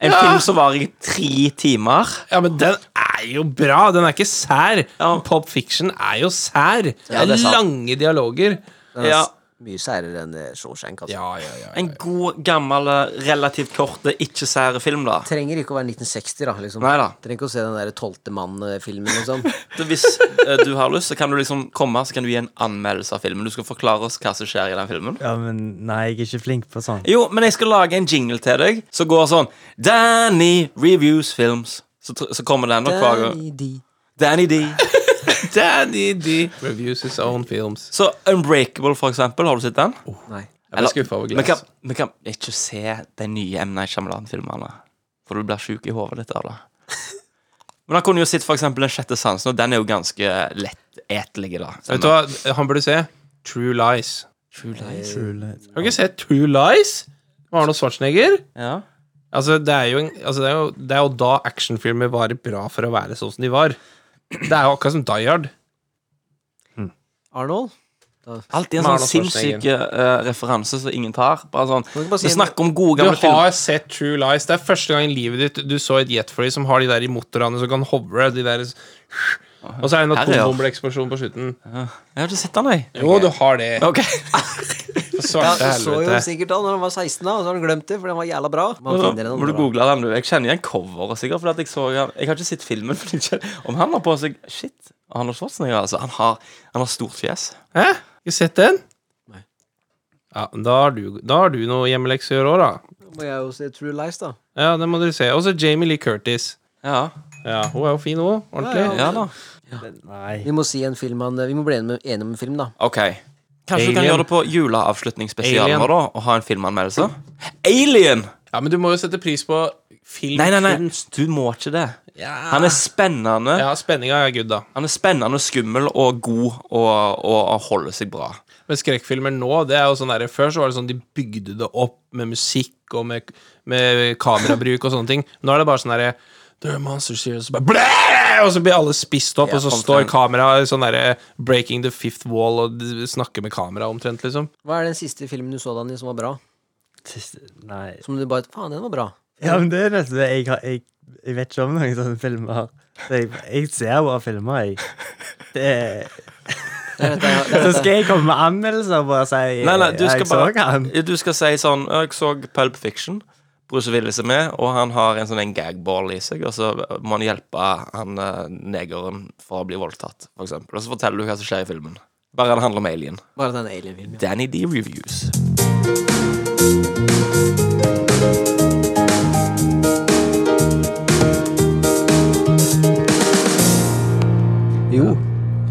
[SPEAKER 1] En film som varer i tre timer.
[SPEAKER 2] Ja, men den er jo bra. Den er ikke sær.
[SPEAKER 1] Ja.
[SPEAKER 2] Pop fiction er jo sær. Det er,
[SPEAKER 1] det er sant.
[SPEAKER 2] lange dialoger.
[SPEAKER 3] Den er
[SPEAKER 1] Ja.
[SPEAKER 3] s- mye særere enn eh, Shawshank. Altså.
[SPEAKER 2] Ja, ja, ja.
[SPEAKER 1] En god, gammel, relativt korte, ikke sære film, da.
[SPEAKER 3] Trenger ikke å være 1960, da. Liksom.
[SPEAKER 1] Neida.
[SPEAKER 3] Trenger ikke å se den der Tolvte mann-filmen, liksom.
[SPEAKER 1] Så Hvis eh, du har lyst, så kan du liksom komme Så kan du gi en anmeldelse av filmen. Du skal forklare oss hva som skjer i den filmen.
[SPEAKER 4] Ja, men nei, jeg er ikke flink på sånn.
[SPEAKER 1] Jo, men jeg skal lage en jingle til deg som går sånn Danny reviews films. Så, tr- så kommer den nok hver gang.
[SPEAKER 3] Danny D.
[SPEAKER 1] Danny D.
[SPEAKER 2] Danny D reviews his own films.
[SPEAKER 1] Så Unbreakable, for eksempel. Har du sett den?
[SPEAKER 3] Nei.
[SPEAKER 2] Oh, Jeg ble skuffa over
[SPEAKER 1] Vi kan,
[SPEAKER 2] Glass.
[SPEAKER 1] vi kan ikke se de nye M. Night Shyamalan-filmene, for du blir sjuk i hodet ditt av det. Men han kunne jo sett for eksempel Den sjette sansen, og den er jo ganske lettetelig, da.
[SPEAKER 2] Vet du hva han burde se? True Lies.
[SPEAKER 1] True Lies.
[SPEAKER 4] Trulet.
[SPEAKER 2] Har du ikke sett True Lies? Med Arnold Schwarzenegger?
[SPEAKER 1] Ja.
[SPEAKER 2] Altså, det er jo, en, altså, det er jo, det er jo da actionfilmer var bra for å være sånn som de var. Det er jo akkurat som Die Hard.
[SPEAKER 3] Arnold?
[SPEAKER 1] Alltid en
[SPEAKER 2] Med
[SPEAKER 1] sånn
[SPEAKER 2] Arnold
[SPEAKER 1] sinnssyk eh, referanse som ingen tar. Bare sånn
[SPEAKER 3] Kan du ikke bare si
[SPEAKER 1] Vi snakker om gode,
[SPEAKER 2] Du
[SPEAKER 1] gamle filmer.
[SPEAKER 2] har sett True Lies. Det er første gang i livet ditt du så et jetfly som har de der i motorene som kan hovre. De der, og så er det en
[SPEAKER 1] Herre, ja.
[SPEAKER 2] atombombeeksplosjon på slutten.
[SPEAKER 1] Jeg har ikke sett den, jeg.
[SPEAKER 2] Jo, du har det.
[SPEAKER 1] Ok.
[SPEAKER 2] For
[SPEAKER 3] Ja,
[SPEAKER 2] Svarte
[SPEAKER 3] du så jo
[SPEAKER 2] helvete.
[SPEAKER 3] sikkert da når han var 16, da, og så har han glemt det, for den var jævla bra. Man finner den
[SPEAKER 1] Må du
[SPEAKER 3] andre, da.
[SPEAKER 1] google den, du. Jeg kjenner igjen coveret, sikkert. Fordi at jeg, så, han- jeg har ikke sett filmen. fordi jeg kjenner- Om han har på seg Shit. Arnold Schwarzenegger, altså. Han har, han har stort fjes.
[SPEAKER 2] Hæ? Ikke sett den? Ja, da har du, da har du noe hjemmelekse å gjøre òg, da.
[SPEAKER 3] Da Må jeg jo se True Lies, da.
[SPEAKER 2] Ja, det må dere se. Og så Jamie Lee Curtis.
[SPEAKER 1] Ja.
[SPEAKER 2] Ja, hun er jo fin, hun. Ordentlig.
[SPEAKER 1] ja da.
[SPEAKER 4] Nei.
[SPEAKER 3] Vi må si en film han Vi må bli enige med- enige om en film, da.
[SPEAKER 1] Ok Kanskje du kan
[SPEAKER 2] Alien.
[SPEAKER 1] gjøre det på juleavslutningsspesialen
[SPEAKER 2] Alien.
[SPEAKER 1] vår, da? Og ha en filmanmeldelse? Alien!
[SPEAKER 2] Ja, men du må jo sette pris på film.
[SPEAKER 1] Nei, nei, nei. Du må ikke det. Han er spennende.
[SPEAKER 2] Ja, spenninga er good, da.
[SPEAKER 1] Han er spennende og skummel og god og, og, og holder seg bra.
[SPEAKER 2] Men skrekkfilmer nå, det er jo sånn der, Før så var det sånn de bygde det opp med musikk og med, med kamerabruk og sånne ting. Nå er det bare sånn derre There are monsters here, og så bare blæh! Og så blir alle spist opp,
[SPEAKER 1] Ja,
[SPEAKER 2] og så
[SPEAKER 1] omtrent.
[SPEAKER 2] står kameraet sånn derre Breaking the fifth wall og d- snakker med kamera omtrent, liksom.
[SPEAKER 5] Hva er den siste filmen du så, Daniel, som var bra?
[SPEAKER 4] Nei.
[SPEAKER 5] Som du bare Faen, den var bra.
[SPEAKER 4] Ja, men det er nesten det. Jeg, har, jeg, jeg vet ikke om noen sånne filmer. Så jeg, jeg ser bare filmer, jeg. Det er,
[SPEAKER 5] Det er dette, jeg- det er
[SPEAKER 4] så
[SPEAKER 5] dette.
[SPEAKER 4] skal jeg komme med anmeldelser og bare si eh,
[SPEAKER 1] Nei, nei, du
[SPEAKER 4] «Ja,
[SPEAKER 1] skal
[SPEAKER 4] jeg så
[SPEAKER 1] bare
[SPEAKER 4] han.
[SPEAKER 1] Du skal si sånn «Ja, Jeg så Pulp Fiction. Bruce Willis er med, og han har en sånn en gagball i seg, og så må han hjelpe han eh, negeren fra å bli voldtatt, for eksempel. Og så forteller du hva som skjer i filmen. Bare den handler om alien.
[SPEAKER 5] Bare den alien-filmen.
[SPEAKER 1] Danny D Reviews.
[SPEAKER 3] Jo,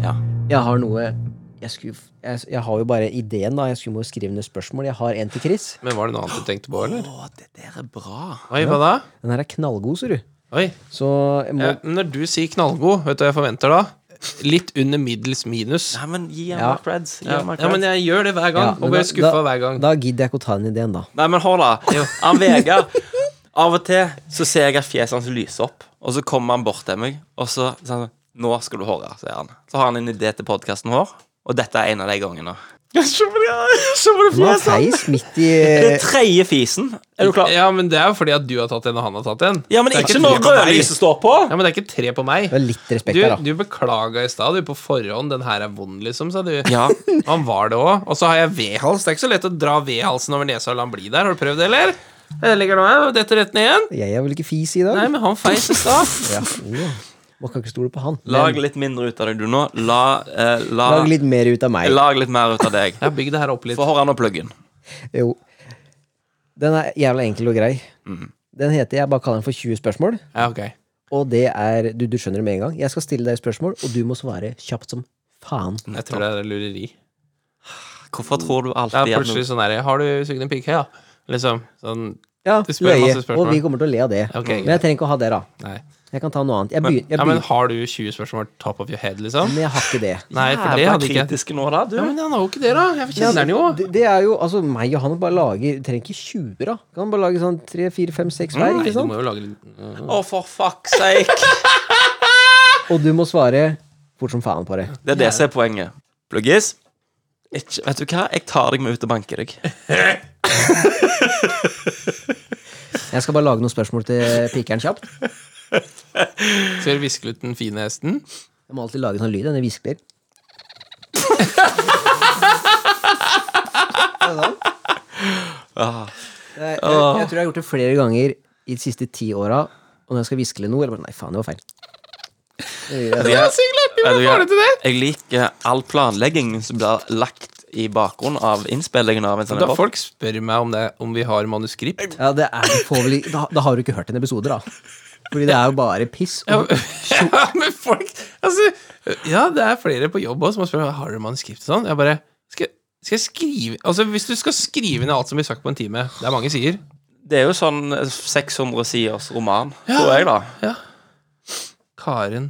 [SPEAKER 1] Ja.
[SPEAKER 3] jeg har noe jeg, skulle, jeg, jeg har jo bare ideen, da. Jeg skulle må skrive ned spørsmål. Jeg har en til Chris.
[SPEAKER 2] Men var det noe annet du tenkte på, eller?
[SPEAKER 1] Å, det der er bra.
[SPEAKER 2] Oi, hva da?
[SPEAKER 3] Den her er knallgod, ser du.
[SPEAKER 2] Oi.
[SPEAKER 3] Så jeg må
[SPEAKER 2] Ja, men når du sier knallgod, vet du hva jeg forventer da? Litt under middels minus.
[SPEAKER 1] Nei, men gi ham
[SPEAKER 3] Ja.
[SPEAKER 1] creds. Gi
[SPEAKER 2] Ja,
[SPEAKER 1] ham
[SPEAKER 2] ja, men
[SPEAKER 1] creds.
[SPEAKER 2] jeg gjør det hver gang,
[SPEAKER 3] Ja, men
[SPEAKER 2] og blir
[SPEAKER 3] da-
[SPEAKER 2] skuffa hver gang.
[SPEAKER 3] Da gidder jeg ikke å ta den ideen, da.
[SPEAKER 1] Nei, men hold da. Han Vegard Av og til så ser jeg at fjeset hans lyser opp, og så kommer han bort til meg, og så sier han Nå skal du høre, sier han. Så har han en idé til podkasten vår, og dette er en av de gangene. Se på det
[SPEAKER 3] Du har feis midt i
[SPEAKER 1] Det er tredje fisen. Er du klar?
[SPEAKER 2] Ja, men det er jo fordi at du har tatt en, og han har tatt en.
[SPEAKER 1] Ja, men
[SPEAKER 2] Det er
[SPEAKER 1] ikke
[SPEAKER 2] tre
[SPEAKER 1] når
[SPEAKER 2] på meg.
[SPEAKER 1] rødlyset står på.
[SPEAKER 2] Ja, men det er ikke tre på meg.
[SPEAKER 3] Det var litt respekt
[SPEAKER 2] Du,
[SPEAKER 3] her, da.
[SPEAKER 2] du beklaga i stad, du, på forhånd. Den her er vond, liksom, sa du.
[SPEAKER 1] Ja.
[SPEAKER 2] Han var det òg. Og så har jeg vedhals. Det er ikke så lett å dra vedhalsen over nesa og la den bli der. Har du prøvd det, eller? Jeg ligger nå her, detter rett ned igjen.
[SPEAKER 3] Jeg er vel ikke fis i dag?
[SPEAKER 2] Nei, men han feis i stad.
[SPEAKER 3] Ja, jo. Man kan ikke stole på han.
[SPEAKER 1] Lag
[SPEAKER 3] Men
[SPEAKER 1] litt mindre ut av deg, du nå. La, eh, la,
[SPEAKER 3] lag litt mer ut av meg.
[SPEAKER 1] lag litt mer ut av deg.
[SPEAKER 2] Jeg har bygd det her opp litt.
[SPEAKER 1] Få høre nå pluggen.
[SPEAKER 3] Jo. Den er jævla enkel og grei.
[SPEAKER 2] Mhm.
[SPEAKER 3] Den heter Jeg bare kaller den for 20 spørsmål.
[SPEAKER 2] Ja, ok.
[SPEAKER 3] Og det er Du, du skjønner det med en gang. Jeg skal stille deg spørsmål, og du må svare kjapt som faen.
[SPEAKER 2] Jeg tror det er lureri.
[SPEAKER 1] Hvorfor tror du
[SPEAKER 2] Det er
[SPEAKER 1] alltid at
[SPEAKER 2] plutselig sånn derre Har du sugd en pigghei, da? Liksom. Sånn
[SPEAKER 3] Ja,
[SPEAKER 2] Du spør
[SPEAKER 3] løye.
[SPEAKER 2] masse spørsmål.
[SPEAKER 3] Og vi kommer til å le av det.
[SPEAKER 2] Ok,
[SPEAKER 3] men jeg trenger ikke å ha det, da.
[SPEAKER 2] Nei.
[SPEAKER 3] Jeg kan ta noe annet. Jeg begynner, jeg
[SPEAKER 2] Ja, men
[SPEAKER 3] begynner.
[SPEAKER 2] har du 20 spørsmål top of your head, liksom?
[SPEAKER 3] men jeg har ikke det.
[SPEAKER 2] Nei, for det
[SPEAKER 1] Jævla
[SPEAKER 2] hadde ikke jeg.
[SPEAKER 1] kritiske nå, da, du.
[SPEAKER 2] Ja, men han har jo ikke det, da. Jeg kjenner den jo.
[SPEAKER 3] det, det er jo Altså, meg og han bare lager Trenger ikke 20, da. Kan bare lage sånn 3, 4, 5, 6 hver.
[SPEAKER 2] Mm, Nei,
[SPEAKER 3] Ikke
[SPEAKER 2] du
[SPEAKER 3] sant?
[SPEAKER 2] må jo lage litt
[SPEAKER 1] Å, for fuck's sake.
[SPEAKER 3] Og du må svare fort som faen på det.
[SPEAKER 1] Det er det som er poenget. Pluggis. Ikke, vet du hva, jeg tar deg med ut og banker deg.
[SPEAKER 3] Jeg skal bare lage noen spørsmål til pikeren kjapt.
[SPEAKER 2] Skal vi viske ut den fine hesten?
[SPEAKER 3] Jeg må alltid lage sånn lyd. Den hvisker.
[SPEAKER 2] sånn.
[SPEAKER 1] Ah.
[SPEAKER 3] Jeg, jeg, jeg tror jeg har gjort det flere ganger i de siste ti åra. Og når jeg skal hviskle noe, eller bare Nei, faen, det var feil.
[SPEAKER 1] Vet du hva?
[SPEAKER 2] Siglert,
[SPEAKER 1] Vet du hva?
[SPEAKER 2] til det!
[SPEAKER 1] Jeg liker all planleggingen som blir lagt i bakgrunnen av innspillingen av en sånn
[SPEAKER 2] Da
[SPEAKER 1] rapport.
[SPEAKER 2] folk spør meg om, det, om vi har manuskript
[SPEAKER 3] Ja, det er, du får vel, ikke- da, da har du ikke hørt en episode, da. Fordi det er jo bare piss.
[SPEAKER 2] ja,
[SPEAKER 3] Og,
[SPEAKER 2] men folk altså, Ja, det er flere på jobb også som har spurt Har du manuskript og sånn. Jeg bare skal, skal jeg skrive Altså, hvis du skal skrive ned alt som blir sagt på en time Det er mange sider.
[SPEAKER 1] Det er jo sånn 600 siders roman, tror jeg, da.
[SPEAKER 2] Karen.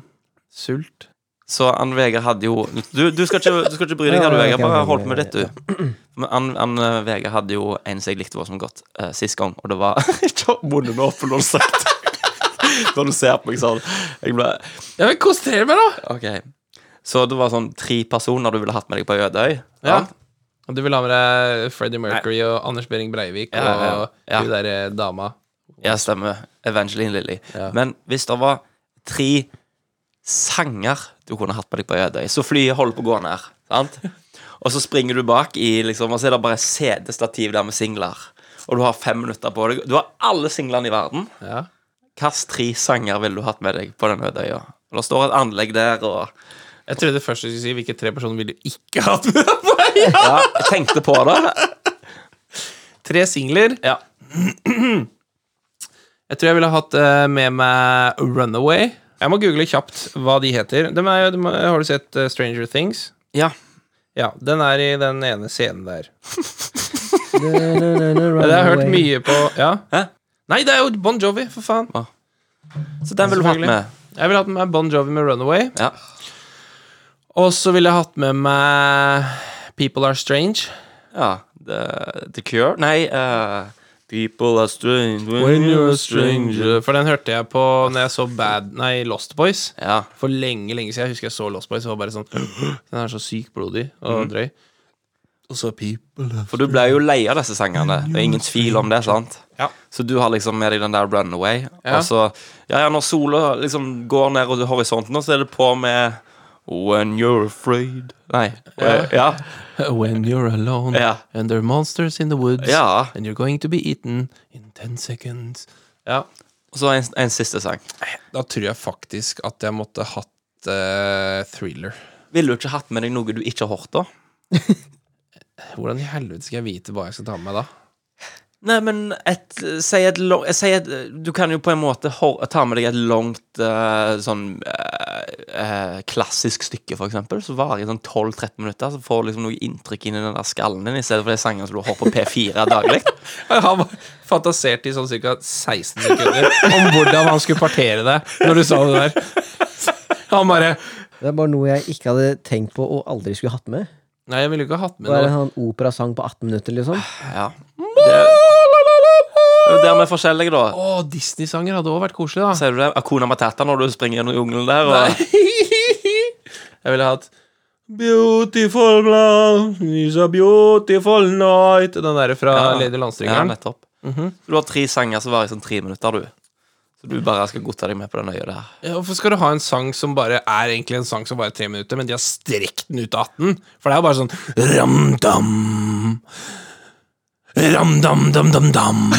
[SPEAKER 2] Sult.
[SPEAKER 1] Så Ann Vegard hadde jo Du, du, skal, ikke, du skal ikke bry deg,
[SPEAKER 3] Ja,
[SPEAKER 1] Ann
[SPEAKER 3] ja,
[SPEAKER 1] Vegard.
[SPEAKER 3] ok,
[SPEAKER 1] Bare
[SPEAKER 3] ok,
[SPEAKER 1] hold på med
[SPEAKER 3] ja,
[SPEAKER 1] ditt, du. Men Ann, Ann eh, Vegard hadde jo en som jeg likte var som godt eh, sist gang, og det var Ikke munn nå, for noe sagt. Når du ser på meg sånn. Jeg ble
[SPEAKER 2] Ja, men konsentrer meg, da!
[SPEAKER 1] Ok Så det var sånn tre personer du ville hatt med deg på Ødøy?
[SPEAKER 2] Ja. Og Du vil ha med deg Freddie Mercury og Anders Behring Breivik
[SPEAKER 1] Ja, ja,
[SPEAKER 2] og
[SPEAKER 1] ja.
[SPEAKER 2] hun derre dama.
[SPEAKER 1] Ja, stemmer. Evangeline Lilly.
[SPEAKER 2] Ja.
[SPEAKER 1] Men hvis det var tre sanger du kunne hatt med deg på Ødøy, så flyet holder på å gå ned, sant? Og så springer du bak i liksom Og så er det bare CD-stativ der med singler. Og du har fem minutter på deg. Du har alle singlene i verden.
[SPEAKER 2] Ja.
[SPEAKER 1] Hvilke tre sanger ville du hatt med deg på den Ødøya? Og Det står et anlegg der, og
[SPEAKER 2] Jeg trodde først du skulle si hvilke tre personer ville du ikke hatt med deg på
[SPEAKER 1] Ja, jeg tenkte på det.
[SPEAKER 2] Tre singler.
[SPEAKER 1] Ja.
[SPEAKER 2] Jeg tror jeg ville hatt eh, med meg Runaway. Jeg må google kjapt hva de heter. De er, jo- de, er- har du sett eh, Stranger Things?
[SPEAKER 1] Ja.
[SPEAKER 2] Ja, den er i den ene scenen der.
[SPEAKER 3] det
[SPEAKER 2] Det har jeg hørt mye på Ja.
[SPEAKER 1] Hæ?
[SPEAKER 2] Nei, det er jo Bon Jovi, for faen.
[SPEAKER 1] Hva? Så den ville du hatt
[SPEAKER 2] Selvfølgelig.
[SPEAKER 1] med.
[SPEAKER 2] Jeg ville hatt med meg Bon Jovi med Runaway.
[SPEAKER 1] Ja.
[SPEAKER 2] Og så ville jeg hatt med meg People Are Strange.
[SPEAKER 1] ja. The, the Cure? Nei eh, People are strange when you're a stranger.
[SPEAKER 2] For den hørte jeg på når jeg så Bad Nei, Lost Boys.
[SPEAKER 1] Ja.
[SPEAKER 2] For lenge, lenge siden. Jeg husker jeg så Lost Boys og var bare sånn Den er så sykt blodig og drøy. Og så People Are
[SPEAKER 1] For du ble jo lei av disse sangene. Det er ingen tvil om det, sant?
[SPEAKER 2] Ja.
[SPEAKER 1] Så du har liksom med deg den der Runaway.
[SPEAKER 2] Ja.
[SPEAKER 1] Og så, ja, ja, når sola liksom går ned og horisonten, så er det på med When you're afraid Nei. eh, Ja.
[SPEAKER 2] When you're alone
[SPEAKER 1] Ja.
[SPEAKER 2] and there are monsters in the woods
[SPEAKER 1] Ja.
[SPEAKER 2] and you're going to be eaten in 10 seconds. Ja.
[SPEAKER 1] Og så en, en siste sang.
[SPEAKER 2] Da tror jeg faktisk at jeg måtte hatt eh, thriller.
[SPEAKER 1] Ville du ikke hatt med deg noe du ikke har hørt, da?
[SPEAKER 2] Hvordan i helvete skal jeg vite hva jeg skal ta med meg da?
[SPEAKER 1] Nei, men et, si et, lo- si et Du kan jo på en måte hor- ta med deg et langt eh, sånn eh, eh, klassisk stykke, for eksempel. Så varer det sånn 12-13 minutter, så får du liksom noe inntrykk inn i den der skallen din, i stedet for de sangene som du har på P4 daglig.
[SPEAKER 2] Han var- fantaserte i sånn ca. 16 sekunder om hvordan han skulle partere deg når du sa det der. Han bare
[SPEAKER 3] Det er bare noe jeg ikke hadde tenkt på og aldri skulle hatt med.
[SPEAKER 2] Nei, jeg ville jo ikke ha hatt med
[SPEAKER 3] Det er en
[SPEAKER 2] noe.
[SPEAKER 3] sånn operasang på 18 minutter, liksom.
[SPEAKER 1] Ja. Det det er jo der vi er forskjellige, da.
[SPEAKER 2] Å, Disney-sanger hadde òg vært koselig, da.
[SPEAKER 1] Ser du det? Akuna Matata når du springer gjennom jungelen der. Og,
[SPEAKER 2] Jeg ville hatt Beautiful love is a beautiful night Den der fra
[SPEAKER 1] Ja.
[SPEAKER 2] Lady
[SPEAKER 1] ja,
[SPEAKER 2] Landstrykeren.
[SPEAKER 1] nettopp.
[SPEAKER 2] Mhm.
[SPEAKER 1] Du har tre sanger som varer i sånn tre minutter, du. Så du bare skal godta deg med på det nøye der.
[SPEAKER 2] Ja, Hvorfor skal du ha en sang som bare er egentlig en sang som bare er tre minutter, men de har strekt den ut av 18? For det er jo bare sånn Ram-dam Ram-dam-dam-dam-dam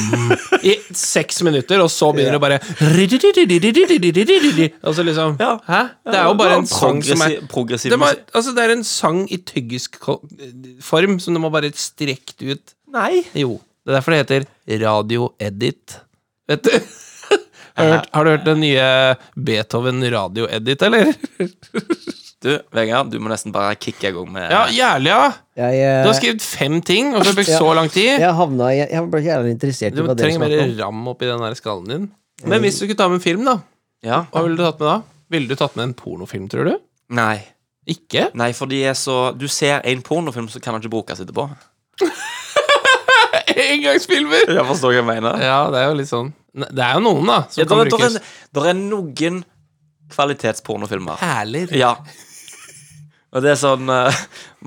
[SPEAKER 2] I seks minutter, og så begynner det bare «Rididididididididididididi». Altså liksom
[SPEAKER 1] Ja.
[SPEAKER 2] Hæ? Det er jo bare en sang
[SPEAKER 1] progressiv,
[SPEAKER 2] som er
[SPEAKER 1] Progressiv
[SPEAKER 2] det, må,
[SPEAKER 1] musikk.
[SPEAKER 2] altså, det er en sang i tyggisk ko- form som du må bare strekt ut
[SPEAKER 1] Nei.
[SPEAKER 2] Jo, det er derfor det heter Radio Edit. Vet du? Har du hørt, har du hørt den nye Beethoven Radio Edit, eller?
[SPEAKER 1] Du, Vegard, du må nesten bare kicke i gang med
[SPEAKER 2] Ja, jævlig, ja!
[SPEAKER 3] Jeg,
[SPEAKER 2] Du har
[SPEAKER 3] eh,
[SPEAKER 2] skrevet fem ting, og så har du brukt
[SPEAKER 3] Ja.
[SPEAKER 2] så lang tid.
[SPEAKER 3] jeg havna i Jeg ble ikke jævlig interessert i
[SPEAKER 2] Du
[SPEAKER 3] hva dere
[SPEAKER 2] trenger
[SPEAKER 3] snakket
[SPEAKER 2] mer
[SPEAKER 3] om.
[SPEAKER 2] ram oppi den der skallen din. Men hvis du skulle ta med en film, da,
[SPEAKER 1] Ja.
[SPEAKER 2] hva ville du tatt med da? Ville du tatt med en pornofilm, tror du?
[SPEAKER 1] Nei.
[SPEAKER 2] Ikke?
[SPEAKER 1] Nei, for de er så Du ser en pornofilm, så kan han ikke brukes etterpå.
[SPEAKER 2] Engangsfilmer!
[SPEAKER 1] Jeg forstår hva jeg mener.
[SPEAKER 2] Ja, det er jo litt sånn Ne- Det er jo noen, da, som
[SPEAKER 1] Ja,
[SPEAKER 2] kan
[SPEAKER 1] der, der,
[SPEAKER 2] brukes.
[SPEAKER 1] er, der er noen kvalitetspornofilmer.
[SPEAKER 2] Perler.
[SPEAKER 1] Ja. Og det er sånn eh,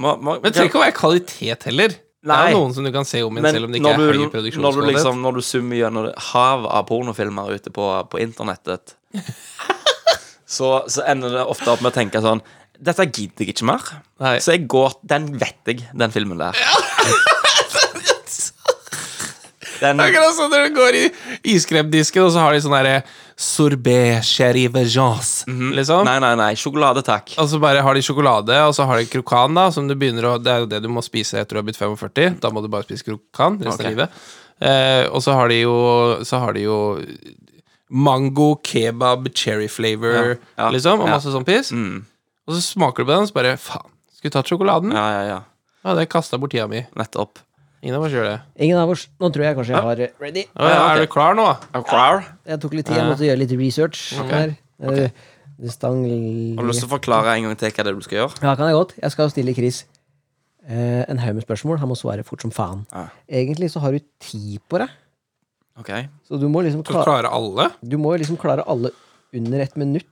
[SPEAKER 1] må, må,
[SPEAKER 2] Men det trenger ikke å være kvalitet heller. Det
[SPEAKER 1] Nei.
[SPEAKER 2] er jo noen som du kan se om igjen, selv om det ikke
[SPEAKER 1] når,
[SPEAKER 2] er
[SPEAKER 1] du,
[SPEAKER 2] høy
[SPEAKER 1] når, du
[SPEAKER 2] produksjonskvalitet.
[SPEAKER 1] liksom, når du summer gjennom det hav av pornofilmer ute på, på internettet, så, så ender det ofte opp med å tenke sånn Dette gidder jeg ikke mer.
[SPEAKER 2] Nei.
[SPEAKER 1] Så jeg går Den vet jeg, den filmen der. Den,
[SPEAKER 2] Akkurat som når du går i iskremdisken, og så har de sånn derre sorbet chérie vegence, liksom.
[SPEAKER 1] Mhm. nei, nei, nei. Sjokolade, takk.
[SPEAKER 2] Og så bare har de sjokolade, og så har de krokan, da, som du begynner å Det er jo det du må spise etter du har blitt 45. Da må du bare spise krokan resten
[SPEAKER 1] Ok.
[SPEAKER 2] av livet. Eh, og så har de jo Så har de jo mango, kebab, cherry flavor,
[SPEAKER 1] Ja, ja,
[SPEAKER 2] liksom, og
[SPEAKER 1] ja. Mm.
[SPEAKER 2] masse sånn piss. Og så smaker du på den, og så bare Faen, skulle tatt sjokoladen.
[SPEAKER 1] Ja, ja, ja.
[SPEAKER 2] Ja, det kasta bort tida mi.
[SPEAKER 1] Nettopp.
[SPEAKER 2] Ingen av oss gjør det.
[SPEAKER 3] Ingen av oss Nå tror jeg kanskje jeg har eh, Ready?
[SPEAKER 2] Å, ja,
[SPEAKER 1] Ja, ok.
[SPEAKER 2] Er du klar nå?
[SPEAKER 3] Jeg tok litt tid, jeg måtte gjøre litt research. her. Eh, Det stang
[SPEAKER 1] Har du lyst til å forklare en gang til hva det er du skal gjøre?
[SPEAKER 3] Ja, kan jeg godt. Jeg skal stille Chris eh, en haug med spørsmål. Han må svare fort som faen.
[SPEAKER 1] Ja.
[SPEAKER 3] Egentlig så har du ti på deg,
[SPEAKER 1] Ok
[SPEAKER 3] så du må liksom,
[SPEAKER 2] Skal du
[SPEAKER 3] kla
[SPEAKER 2] klare alle?
[SPEAKER 3] du må liksom klare alle under ett minutt.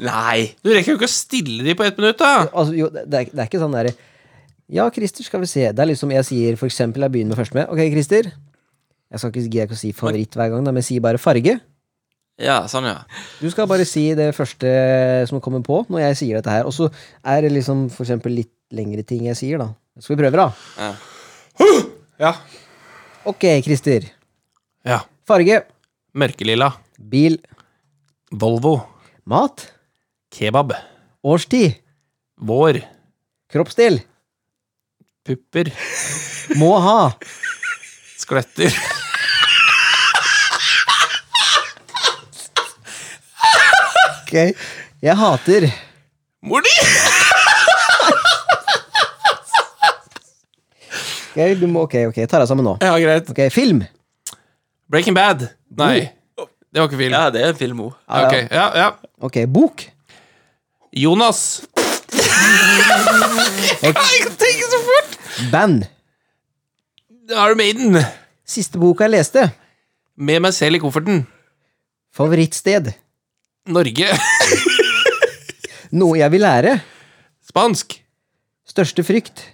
[SPEAKER 1] Nei!
[SPEAKER 2] Du rekker jo ikke å stille de på ett minutt, da!
[SPEAKER 3] Altså, jo, det, det er, det er ikke sånn derre Ja, Christer, skal vi se. Det er litt som jeg sier, for eksempel, jeg begynner med første med. Ok, Christer. Jeg skal ikke, gidder ikke å si favoritt hver gang, da, men jeg sier bare farge.
[SPEAKER 1] Ja, sånn, ja.
[SPEAKER 3] Du skal bare si det første som kommer på når jeg sier dette her. Og så er det liksom for eksempel litt lengre ting jeg sier, da. Skal vi prøve, da?
[SPEAKER 2] Ja.
[SPEAKER 3] Ok, Christer.
[SPEAKER 2] ja.
[SPEAKER 3] Farge.
[SPEAKER 2] Mørkelilla.
[SPEAKER 3] Bil.
[SPEAKER 2] Volvo.
[SPEAKER 3] Mat.
[SPEAKER 2] Kebab.
[SPEAKER 3] Årstid.
[SPEAKER 2] Vår.
[SPEAKER 3] Kroppsdel.
[SPEAKER 2] Pupper.
[SPEAKER 3] Må ha.
[SPEAKER 2] Skletter.
[SPEAKER 3] Ok. Jeg hater.
[SPEAKER 2] Mor di!
[SPEAKER 3] Ok, du må, ok, ok, jeg tar deg sammen nå.
[SPEAKER 2] Ja, greit.
[SPEAKER 3] Ok, Film.
[SPEAKER 2] Breaking Bad. Nei. Det var ikke film.
[SPEAKER 1] Ja, det er en film òg.
[SPEAKER 2] Oh. Ja, ok. ja, ja.
[SPEAKER 3] Ok, bok.
[SPEAKER 2] Jonas.
[SPEAKER 1] Jeg tenker så fort!
[SPEAKER 3] Band.
[SPEAKER 2] Iron Maiden.
[SPEAKER 3] Siste boka jeg leste.
[SPEAKER 2] Med meg selv i kofferten.
[SPEAKER 3] Favorittsted.
[SPEAKER 2] Norge.
[SPEAKER 3] Noe jeg vil lære.
[SPEAKER 2] Spansk.
[SPEAKER 3] Største frykt.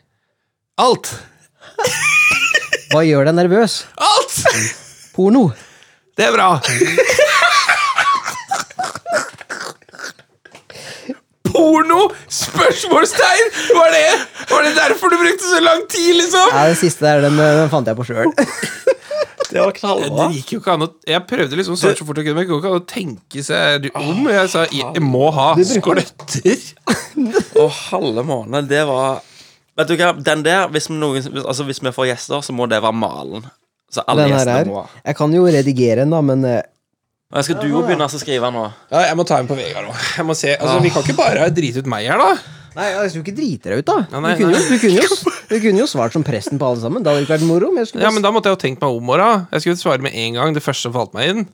[SPEAKER 2] Alt.
[SPEAKER 3] Hva gjør deg nervøs?
[SPEAKER 2] Alt!
[SPEAKER 3] Porno.
[SPEAKER 2] Det er bra. Porno? Spørsmålstegn? Var det, var det derfor du brukte så lang tid, liksom?
[SPEAKER 3] Ja, det siste der, den, eh, den fant jeg på sjøl.
[SPEAKER 1] Eh, Det var knallbra.
[SPEAKER 2] Det gikk jo ikke an å Jeg prøvde liksom å svare så fort jeg kunne, men det Ah, gikk jo ikke an å tenke seg om. Jeg sa jeg må ha skoløtter.
[SPEAKER 1] Og halve måned, det var Vet du hva, den der, hvis vi, noen, hvis, altså, hvis vi får gjester, så må det være malen. Så alle
[SPEAKER 3] Den her
[SPEAKER 1] gjestene
[SPEAKER 3] er.
[SPEAKER 1] må
[SPEAKER 3] Jeg kan jo redigere den, da, men eh,
[SPEAKER 1] Men Skal du òg begynne å skrive nå?
[SPEAKER 2] Ja, jeg må ta en på Vegard òg. Jeg må se. Altså, vi kan ikke bare drite ut meg her, da.
[SPEAKER 3] Nei, jeg skulle ikke drite deg ut, da.
[SPEAKER 2] nei,
[SPEAKER 3] Du kunne jo, du kunne jo, s- du kunne jo svart som presten på alle sammen. Det hadde ikke vært moro. Men jeg skulle
[SPEAKER 2] Ja,
[SPEAKER 3] bare-
[SPEAKER 2] men da måtte jeg jo tenkt meg om, Åra. Jeg skulle svare med en gang det første som falt meg inn.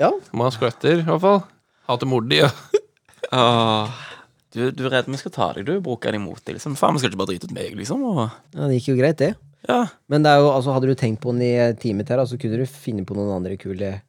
[SPEAKER 3] ja.
[SPEAKER 2] Må ha skoløtter, i hvert fall. Hater mor di, ja.
[SPEAKER 1] Du, du er redd vi skal ta deg, du. Bruke den imot deg, liksom. Faen, vi skal ikke bare drite ut meg, liksom. Og,
[SPEAKER 3] ja, det gikk jo greit, det.
[SPEAKER 1] ja.
[SPEAKER 3] Men det er jo, altså, hadde du tenkt på den i eh, teamet her, da, så kunne du finne på noen andre kule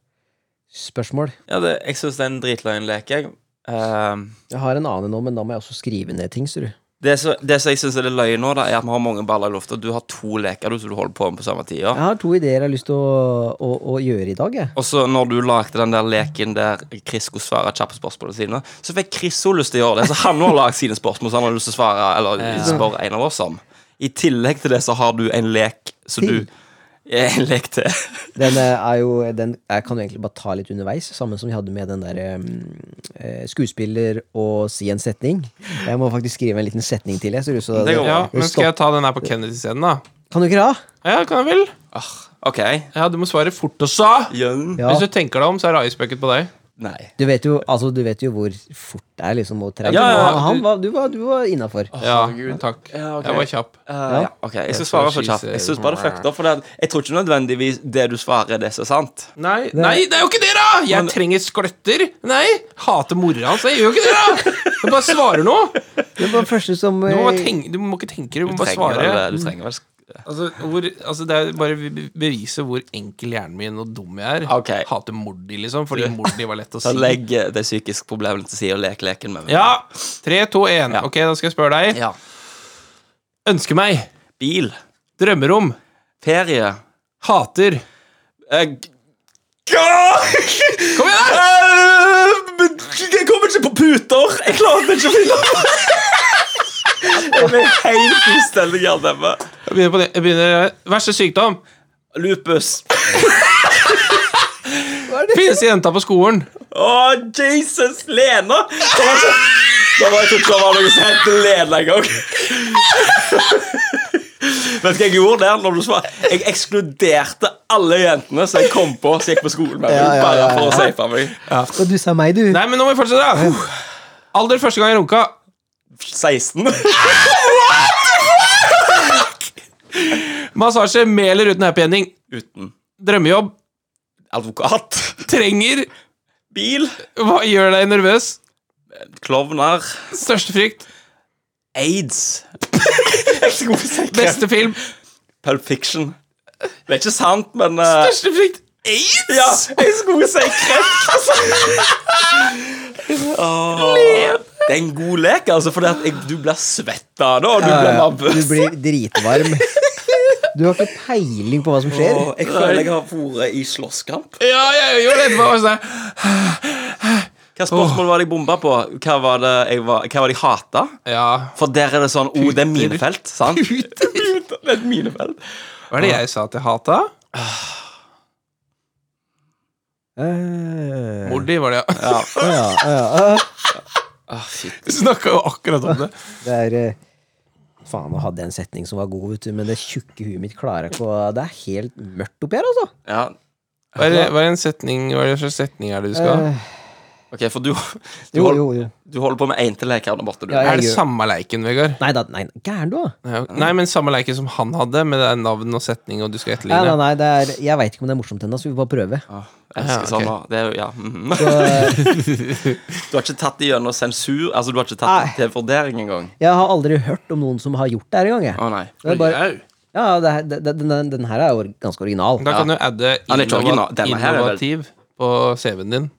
[SPEAKER 3] spørsmål.
[SPEAKER 1] ja det, jeg syns det er en dritløgn lek, jeg. Ehm,
[SPEAKER 3] Jeg har en annen nå, men da må jeg også skrive ned ting, ser du.
[SPEAKER 1] det som det som jeg syns er det løye nå, da, er at vi har mange baller i lufta. Du har to leker du, som du holder på med på samme tid. Ja.
[SPEAKER 3] Jeg har to ideer jeg har lyst til å, å, å gjøre i dag, jeg.
[SPEAKER 1] Og så når du lagde den der leken der Chris skulle svare kjappe spørsmål sine, så fikk Chris òg lyst til å gjøre det. Så han har lagd sine spørsmål, så han har lyst til å svare Eller spørre en av oss om. I tillegg til det så har du en lek som du
[SPEAKER 3] Til.
[SPEAKER 1] En lek til.
[SPEAKER 3] Den eh, er jo Den jeg kan jo egentlig bare ta litt underveis, samme som vi hadde med den der eh, eh, skuespiller og si en setning. Jeg må faktisk skrive en liten setning til, jeg. Ser ut som
[SPEAKER 1] Det går bra.
[SPEAKER 2] ja. Men skal jeg ta den her på Kennedy-scenen, da?
[SPEAKER 3] Kan du ikke det?
[SPEAKER 2] Ja, kan jeg vel?
[SPEAKER 1] OK.
[SPEAKER 2] Ja, du må svare fort og sa!
[SPEAKER 1] Jønn.
[SPEAKER 3] Ja.
[SPEAKER 2] Hvis du tenker deg om, så er det icebucket på deg.
[SPEAKER 1] Nei.
[SPEAKER 3] Du vet jo, altså, du vet jo hvor fort det er, liksom, å trene.
[SPEAKER 1] Ja, ja, ja.
[SPEAKER 3] Han, han var, du var, du var innafor.
[SPEAKER 2] Ja, takk.
[SPEAKER 1] Ja, ok.
[SPEAKER 2] Jeg var kjapp.
[SPEAKER 1] Eh, ja, ok, Jeg skal svare for kjapt. Jeg synes bare det er fucked up. For det at jeg tror ikke nødvendigvis det du svarer, er det som er sant.
[SPEAKER 2] Nei, nei, det er jo ikke det, da! Jeg
[SPEAKER 1] Men-
[SPEAKER 2] trenger skløtter. Nei! Hater mora hans. Jeg gjør jo ikke det, da! Du bare svarer nå.
[SPEAKER 3] Det var den første som
[SPEAKER 2] Du må, bare
[SPEAKER 3] eh,
[SPEAKER 2] tenke, du må ikke tenke, du må
[SPEAKER 1] Du
[SPEAKER 2] bare
[SPEAKER 1] trenger
[SPEAKER 2] svare.
[SPEAKER 1] vel, du trenger vel
[SPEAKER 2] Altså, hvor, altså Det er bare be- be- bevise hvor enkel hjernen min og dum jeg er.
[SPEAKER 1] Ok.
[SPEAKER 2] Hater Mordi, liksom, fordi Mordi var lett å
[SPEAKER 1] Så
[SPEAKER 2] si.
[SPEAKER 1] legg eh, de psykiske problemene til side og lek leken med meg.
[SPEAKER 2] Ja! Tre, to, én. Ok, da skal jeg spørre deg.
[SPEAKER 1] Ja.
[SPEAKER 2] Ønsker meg.
[SPEAKER 1] Bil.
[SPEAKER 2] Drømmer om.
[SPEAKER 1] Ferie.
[SPEAKER 2] Hater.
[SPEAKER 1] Eh, g- Kom igjen, da! Eh, jeg kommer ikke på puter. Jeg klarer ikke å finne Jeg blir helt fullstendig jerndemme.
[SPEAKER 2] Jeg begynner på det. Jeg begynner Verste sykdom.
[SPEAKER 1] Lupus.
[SPEAKER 2] Fineste jenta på skolen.
[SPEAKER 1] Å, Jesus! Lena! Det var så... Da var jeg tror ikke det var noe som het Lena engang. Vet du hva jeg gjorde der? Når du svar? Jeg ekskluderte alle jentene som jeg kom på som gikk på skolen med meg.
[SPEAKER 3] Ja, ja,
[SPEAKER 1] Bare
[SPEAKER 3] ja,
[SPEAKER 1] for å safe meg.
[SPEAKER 3] Og du sa meg, du.
[SPEAKER 2] Nei, men nå må vi fortsette. da. Alder første gang jeg runka.
[SPEAKER 1] 16.
[SPEAKER 2] Massasje med eller uten happy ending.
[SPEAKER 1] Uten
[SPEAKER 2] Drømmejobb.
[SPEAKER 1] advokat.
[SPEAKER 2] Trenger.
[SPEAKER 1] Bil.
[SPEAKER 2] Hva gjør deg nervøs?
[SPEAKER 1] Klovner.
[SPEAKER 2] Største frykt.
[SPEAKER 1] Aids. Jeg er så god på sekk.
[SPEAKER 2] Beste film.
[SPEAKER 1] Pulp Fiction. Det er ikke sant, men eh,
[SPEAKER 2] Største frykt.
[SPEAKER 1] Aids? Ja, jeg skulle si kreft. Altså. Åh, Det er en god lek, altså, for du blir svett av det, og du blir
[SPEAKER 3] Du
[SPEAKER 1] nervøs.
[SPEAKER 3] blir dritvarm. Du har ikke peiling på hva som skjer.
[SPEAKER 1] Åh, Jeg føler jeg har vært i slåsskamp.
[SPEAKER 2] Ja, jeg gjorde det etterpå. og så-
[SPEAKER 1] Hva spørsmål var det jeg bomba på? Hva var det jeg, var, hva var det jeg hata?
[SPEAKER 2] Ja.
[SPEAKER 1] For der er det sånn oh, det er minefelt, sant?
[SPEAKER 2] Puter.
[SPEAKER 1] Puter, Det er et minefelt.
[SPEAKER 2] Hva er det jeg sa at jeg hata?
[SPEAKER 3] Eh,
[SPEAKER 2] Mordi var det, ja.
[SPEAKER 3] å ja, å ja, å.
[SPEAKER 2] Vi snakka jo akkurat om det.
[SPEAKER 3] Det er eh, Faen, nå hadde jeg en setning som var god, vet du, men det tjukke huet mitt klarer ikke å Det er helt mørkt oppi her, altså.
[SPEAKER 1] Ja.
[SPEAKER 2] Hva er det, hva er en setning, hva er det for setning er det du skal ha?
[SPEAKER 3] Eh,
[SPEAKER 2] Hva
[SPEAKER 1] Ok, For du, du,
[SPEAKER 3] Jo,
[SPEAKER 1] holder,
[SPEAKER 3] jo, jo.
[SPEAKER 1] du holder på med én til lek her borte, du.
[SPEAKER 3] Ja, jeg
[SPEAKER 2] Er det
[SPEAKER 3] gjør-
[SPEAKER 2] samme leiken, Vegard?
[SPEAKER 3] Nei da, nei, nei, gæren du, da.
[SPEAKER 2] Ja, Nei, men samme leiken som han hadde, med det er navn og setning, og du skal
[SPEAKER 3] Nei, nei,
[SPEAKER 2] etterligne.
[SPEAKER 3] nei, det er, jeg veit ikke om det er morsomt ennå, så vi får bare prøve.
[SPEAKER 1] Ah, jeg elsker
[SPEAKER 2] Ja, ok.
[SPEAKER 1] sånn. da. Det er jo, ja. mhm.
[SPEAKER 3] Så,
[SPEAKER 1] Du har ikke tatt det gjennom sensur? Altså, du har ikke tatt det til vurdering engang?
[SPEAKER 3] jeg har aldri hørt om noen som har gjort det her engang. jeg.
[SPEAKER 1] Å nei.
[SPEAKER 3] Det er bare,
[SPEAKER 2] Au.
[SPEAKER 3] ja, det, her- det, det, den, den- den her er jo ganske original.
[SPEAKER 2] Da kan du adde
[SPEAKER 1] Han er ikke original.
[SPEAKER 2] innova-
[SPEAKER 1] Denne her er vel-
[SPEAKER 2] innovativ på CV-en din.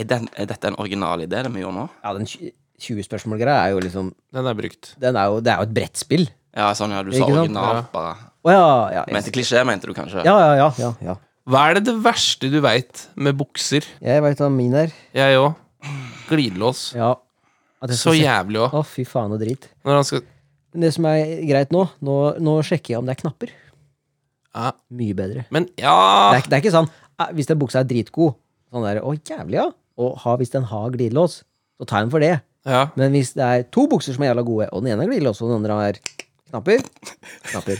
[SPEAKER 1] Er, den, er dette en original idé, det vi gjør nå?
[SPEAKER 3] Ja, den 20-spørsmål-greia er jo liksom
[SPEAKER 2] Den er brukt.
[SPEAKER 3] den er jo, Det er jo et brettspill.
[SPEAKER 1] Ja, sånn, ja, du sa
[SPEAKER 3] Ikke sant?
[SPEAKER 1] original,
[SPEAKER 2] Ja.
[SPEAKER 1] bare.
[SPEAKER 3] Å ja, ja.
[SPEAKER 1] Mente klisjé, mente du kanskje?
[SPEAKER 3] Ja, ja, ja. ja, ja.
[SPEAKER 2] Hva er det, det verste du veit med bukser?
[SPEAKER 3] Jeg veit hva min er.
[SPEAKER 2] Jeg òg. Glidelås.
[SPEAKER 3] Ja. At jeg
[SPEAKER 2] Så
[SPEAKER 3] skal se-
[SPEAKER 2] jævlig òg.
[SPEAKER 3] Å, fy faen og drit.
[SPEAKER 2] Når han skal
[SPEAKER 3] Men det som er greit nå, nå, nå sjekker jeg om det er knapper.
[SPEAKER 1] Ah.
[SPEAKER 2] Ja.
[SPEAKER 3] Mye bedre.
[SPEAKER 2] Men ja
[SPEAKER 3] Det er, ikke- det er ikke sånn eh, hvis den buksa er dritgod, sånn der, å jævlig, ja. Og ha, hvis den har glidelås, så tar jeg den for det.
[SPEAKER 2] Ja.
[SPEAKER 3] Men hvis det er to bukser som er jævla gode, og den ene har glidelås, og den andre har knapper Knapper.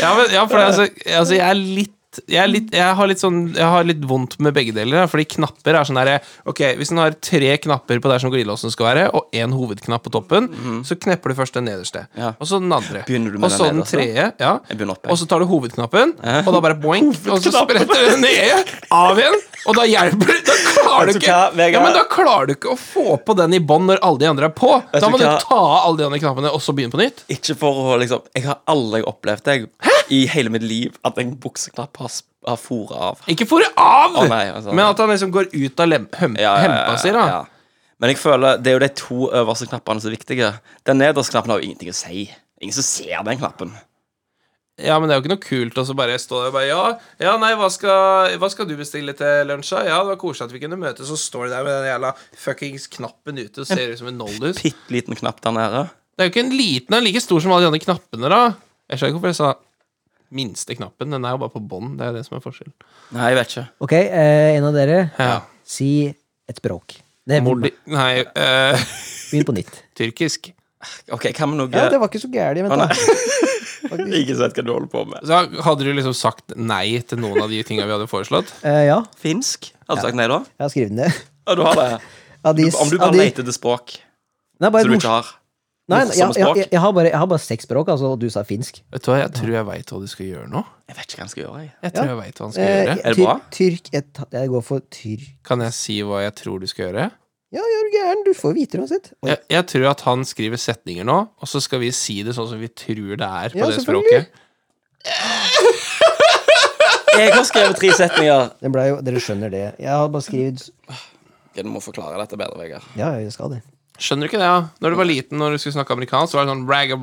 [SPEAKER 2] Ja, men, ja, for det, er altså, altså jeg er litt jeg, er litt, jeg, har litt sånn, jeg har litt vondt med begge deler. da, Fordi knapper er sånn der, Ok, Hvis den har tre knapper på der som glidelåsen skal være, og én hovedknapp på toppen, så knepper du først den nederste.
[SPEAKER 1] Mhm. Ja.
[SPEAKER 2] Og så den andre.
[SPEAKER 1] Begynner du med
[SPEAKER 2] og så
[SPEAKER 1] den
[SPEAKER 2] den
[SPEAKER 1] nederste?
[SPEAKER 2] tredje. Ja.
[SPEAKER 1] Jeg begynner opp, jeg.
[SPEAKER 2] Og så tar du hovedknappen, og da bare boink, og så spretter du den ned av igjen. Og da hjelper det! Da klarer du
[SPEAKER 1] Vet du
[SPEAKER 2] ikke
[SPEAKER 1] hva, Vegard?
[SPEAKER 2] ja, men da klarer du ikke å få på den i bånn når alle de andre er på.
[SPEAKER 1] Vet
[SPEAKER 2] Da
[SPEAKER 1] du
[SPEAKER 2] må du
[SPEAKER 1] hva?
[SPEAKER 2] ta av alle de andre knappene, og så begynne på nytt.
[SPEAKER 1] Ikke for å liksom Jeg har aldri opplevd det jeg, i hele mitt liv at en bukseknapp har, s- har fôret av.
[SPEAKER 2] Ikke fôre av,
[SPEAKER 1] Å, nei, altså.
[SPEAKER 2] men at han liksom går ut av lem, høm,
[SPEAKER 1] Ja, ja, ja,
[SPEAKER 2] hempa si, da.
[SPEAKER 1] ja. Men jeg føler det er jo de to øverste knappene som er viktige. Den nederste knappen har jo ingenting å si. Ingen som ser den knappen.
[SPEAKER 2] Ja. men det er jo ikke noe kult å så bare stå der og bare Ja, ja nei, hva skal, hva skal du bestille til lunsj? da? Ja, det var koselig at vi kunne møtes, så står du der med den jævla fuckings knappen ute og ser ut som en noldus.
[SPEAKER 1] Bitte liten knapp der nede.
[SPEAKER 2] Det er jo ikke en liten en, like stor som alle de andre knappene, da. Jeg skjønner ikke hvorfor jeg sa minste knappen. Den er jo bare på bånn. Det er det som er forskjellen.
[SPEAKER 1] Nei, jeg vet ikke.
[SPEAKER 3] Ok, eh, en av dere,
[SPEAKER 2] Ja.
[SPEAKER 3] si et språk. Det
[SPEAKER 2] Mordi... Nei, eh,
[SPEAKER 3] Begynn på nytt.
[SPEAKER 2] tyrkisk.
[SPEAKER 1] OK, hva med noe
[SPEAKER 3] Ja, det var ikke så gærent, vent
[SPEAKER 1] Å,
[SPEAKER 3] da.
[SPEAKER 1] Ah, nei. Ingen som vet hva du holder på med.
[SPEAKER 2] Så hadde du liksom sagt nei til noen av de tinga vi hadde foreslått?
[SPEAKER 3] Eh, ja,
[SPEAKER 1] Finsk? Har du sagt nei, da?
[SPEAKER 3] jeg har skrevet den ned.
[SPEAKER 1] Ja, du har det.
[SPEAKER 3] Av de-
[SPEAKER 1] Du, om du
[SPEAKER 3] av
[SPEAKER 1] bare
[SPEAKER 3] de-
[SPEAKER 1] leter etter språk
[SPEAKER 3] Nei, bare
[SPEAKER 1] som du
[SPEAKER 3] mors-
[SPEAKER 1] ikke har.
[SPEAKER 3] Nei, nei, jeg,
[SPEAKER 1] morsomme
[SPEAKER 3] jeg,
[SPEAKER 1] språk.
[SPEAKER 3] jeg, jeg, har bare, jeg har bare seks språk, altså, og du sa finsk.
[SPEAKER 2] Vet du hva, jeg tror jeg veit hva du skal gjøre nå.
[SPEAKER 1] Jeg vet ikke hva jeg skal gjøre. jeg
[SPEAKER 2] Jeg
[SPEAKER 3] Ja.
[SPEAKER 2] tror jeg veit hva han skal
[SPEAKER 3] Eh,
[SPEAKER 2] gjøre.
[SPEAKER 1] Er det bra?
[SPEAKER 3] Tyrk, jeg, ta- jeg går for tyrk.
[SPEAKER 2] Kan jeg si hva jeg tror du skal gjøre?
[SPEAKER 3] Ja, ja, er du gæren? Du får vite det uansett. Oi.
[SPEAKER 2] Jeg, jeg tror at han skriver setninger nå, og så skal vi si det sånn som vi tror det er på
[SPEAKER 3] Ja,
[SPEAKER 2] det
[SPEAKER 3] selvfølgelig.
[SPEAKER 2] språket.
[SPEAKER 1] Jeg har skrevet tre setninger.
[SPEAKER 3] Den ble jo, dere skjønner det. Jeg har bare skrevet
[SPEAKER 1] Ok, Du må forklare dette bedre, Vegard.
[SPEAKER 3] Ja, jeg skal det.
[SPEAKER 2] Skjønner du ikke det, ja? Når du var liten når du skulle snakke amerikansk, så var det sånn rag
[SPEAKER 1] Å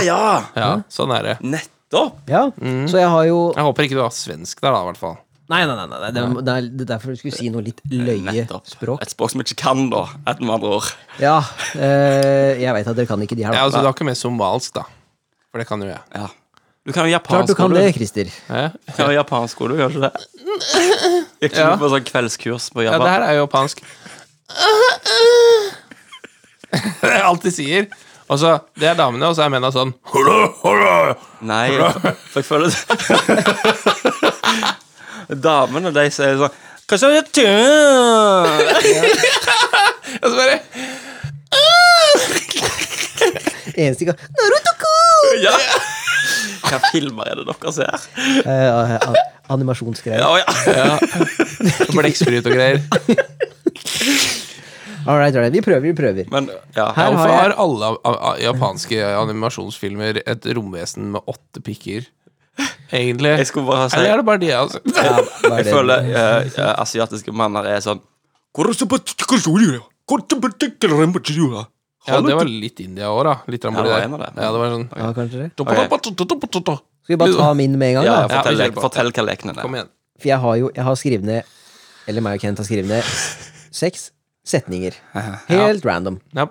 [SPEAKER 2] ja.
[SPEAKER 1] ja!
[SPEAKER 2] ja, sånn er det.
[SPEAKER 1] Nettopp!
[SPEAKER 3] Ja,
[SPEAKER 1] Mm.
[SPEAKER 3] Så jeg har jo
[SPEAKER 2] Jeg håper ikke du var svensk der, da, i hvert fall.
[SPEAKER 3] Nei, nei, nei. nei, det, er- det er- det er derfor du skulle si noe litt løye
[SPEAKER 1] Nettopp.
[SPEAKER 3] språk.
[SPEAKER 1] Et språk som vi ikke kan, da. Et med andre ord.
[SPEAKER 3] Ja, eh, jeg veit at dere kan ikke de her,
[SPEAKER 2] Ja,
[SPEAKER 3] da.
[SPEAKER 2] altså, du har ikke med somalsk, da. For det kan jo jeg.
[SPEAKER 1] Ja. Du kan jo
[SPEAKER 3] Klart
[SPEAKER 1] japansk,
[SPEAKER 3] du kan
[SPEAKER 1] og
[SPEAKER 3] det, Christer.
[SPEAKER 2] Eh?
[SPEAKER 1] Du kan jo japansk, og du gjør ikke det? Gikk ikke
[SPEAKER 2] Ja.
[SPEAKER 1] du på sånn kveldskurs på
[SPEAKER 2] Ja, det
[SPEAKER 1] Japan?
[SPEAKER 2] her er jo japansk. det er alt de sier. Og så, Det er damene, og så er mennene sånn
[SPEAKER 1] Nei, for jeg føler Damene, de sier sånn Hva sa du til?
[SPEAKER 2] Og så bare
[SPEAKER 3] Eneste ikke Naruto-ku!
[SPEAKER 1] Ja. Hva filmer er det dere ser?
[SPEAKER 3] Eh, a- Animasjonsgreier.
[SPEAKER 1] Ja, ja.
[SPEAKER 2] Blekksprut og greier.
[SPEAKER 3] All right, all right. Vi prøver, vi prøver.
[SPEAKER 1] Men ja.
[SPEAKER 2] Ja,
[SPEAKER 3] Her har
[SPEAKER 2] Hvorfor
[SPEAKER 3] jeg-
[SPEAKER 2] har alle av- av- av japanske animasjonsfilmer et romvesen med åtte pikker? Egentlig.
[SPEAKER 1] Jeg skulle bare si
[SPEAKER 2] Eller er det bare de, altså?
[SPEAKER 3] Ja, hva er
[SPEAKER 1] Jeg
[SPEAKER 3] det?
[SPEAKER 1] føler eh, eh, asiatiske manner er sånn
[SPEAKER 2] Ja, det var litt India òg, da. Litt rammer
[SPEAKER 1] Ja, det var
[SPEAKER 2] der.
[SPEAKER 1] en av det.
[SPEAKER 2] Ja, det var sånn
[SPEAKER 3] Ja, kanskje det.
[SPEAKER 2] Skal
[SPEAKER 3] Skal vi bare ta min med en gang,
[SPEAKER 1] Ja,
[SPEAKER 3] da?
[SPEAKER 1] ja, fortell,
[SPEAKER 2] Ja, vi kjører
[SPEAKER 1] lek-
[SPEAKER 2] på.
[SPEAKER 1] fortell hva leken er.
[SPEAKER 2] Kom igjen.
[SPEAKER 3] For jeg har jo jeg har skrevet ned Eller meg og Kent har skrevet ned seks setninger. Helt random.
[SPEAKER 2] Ja.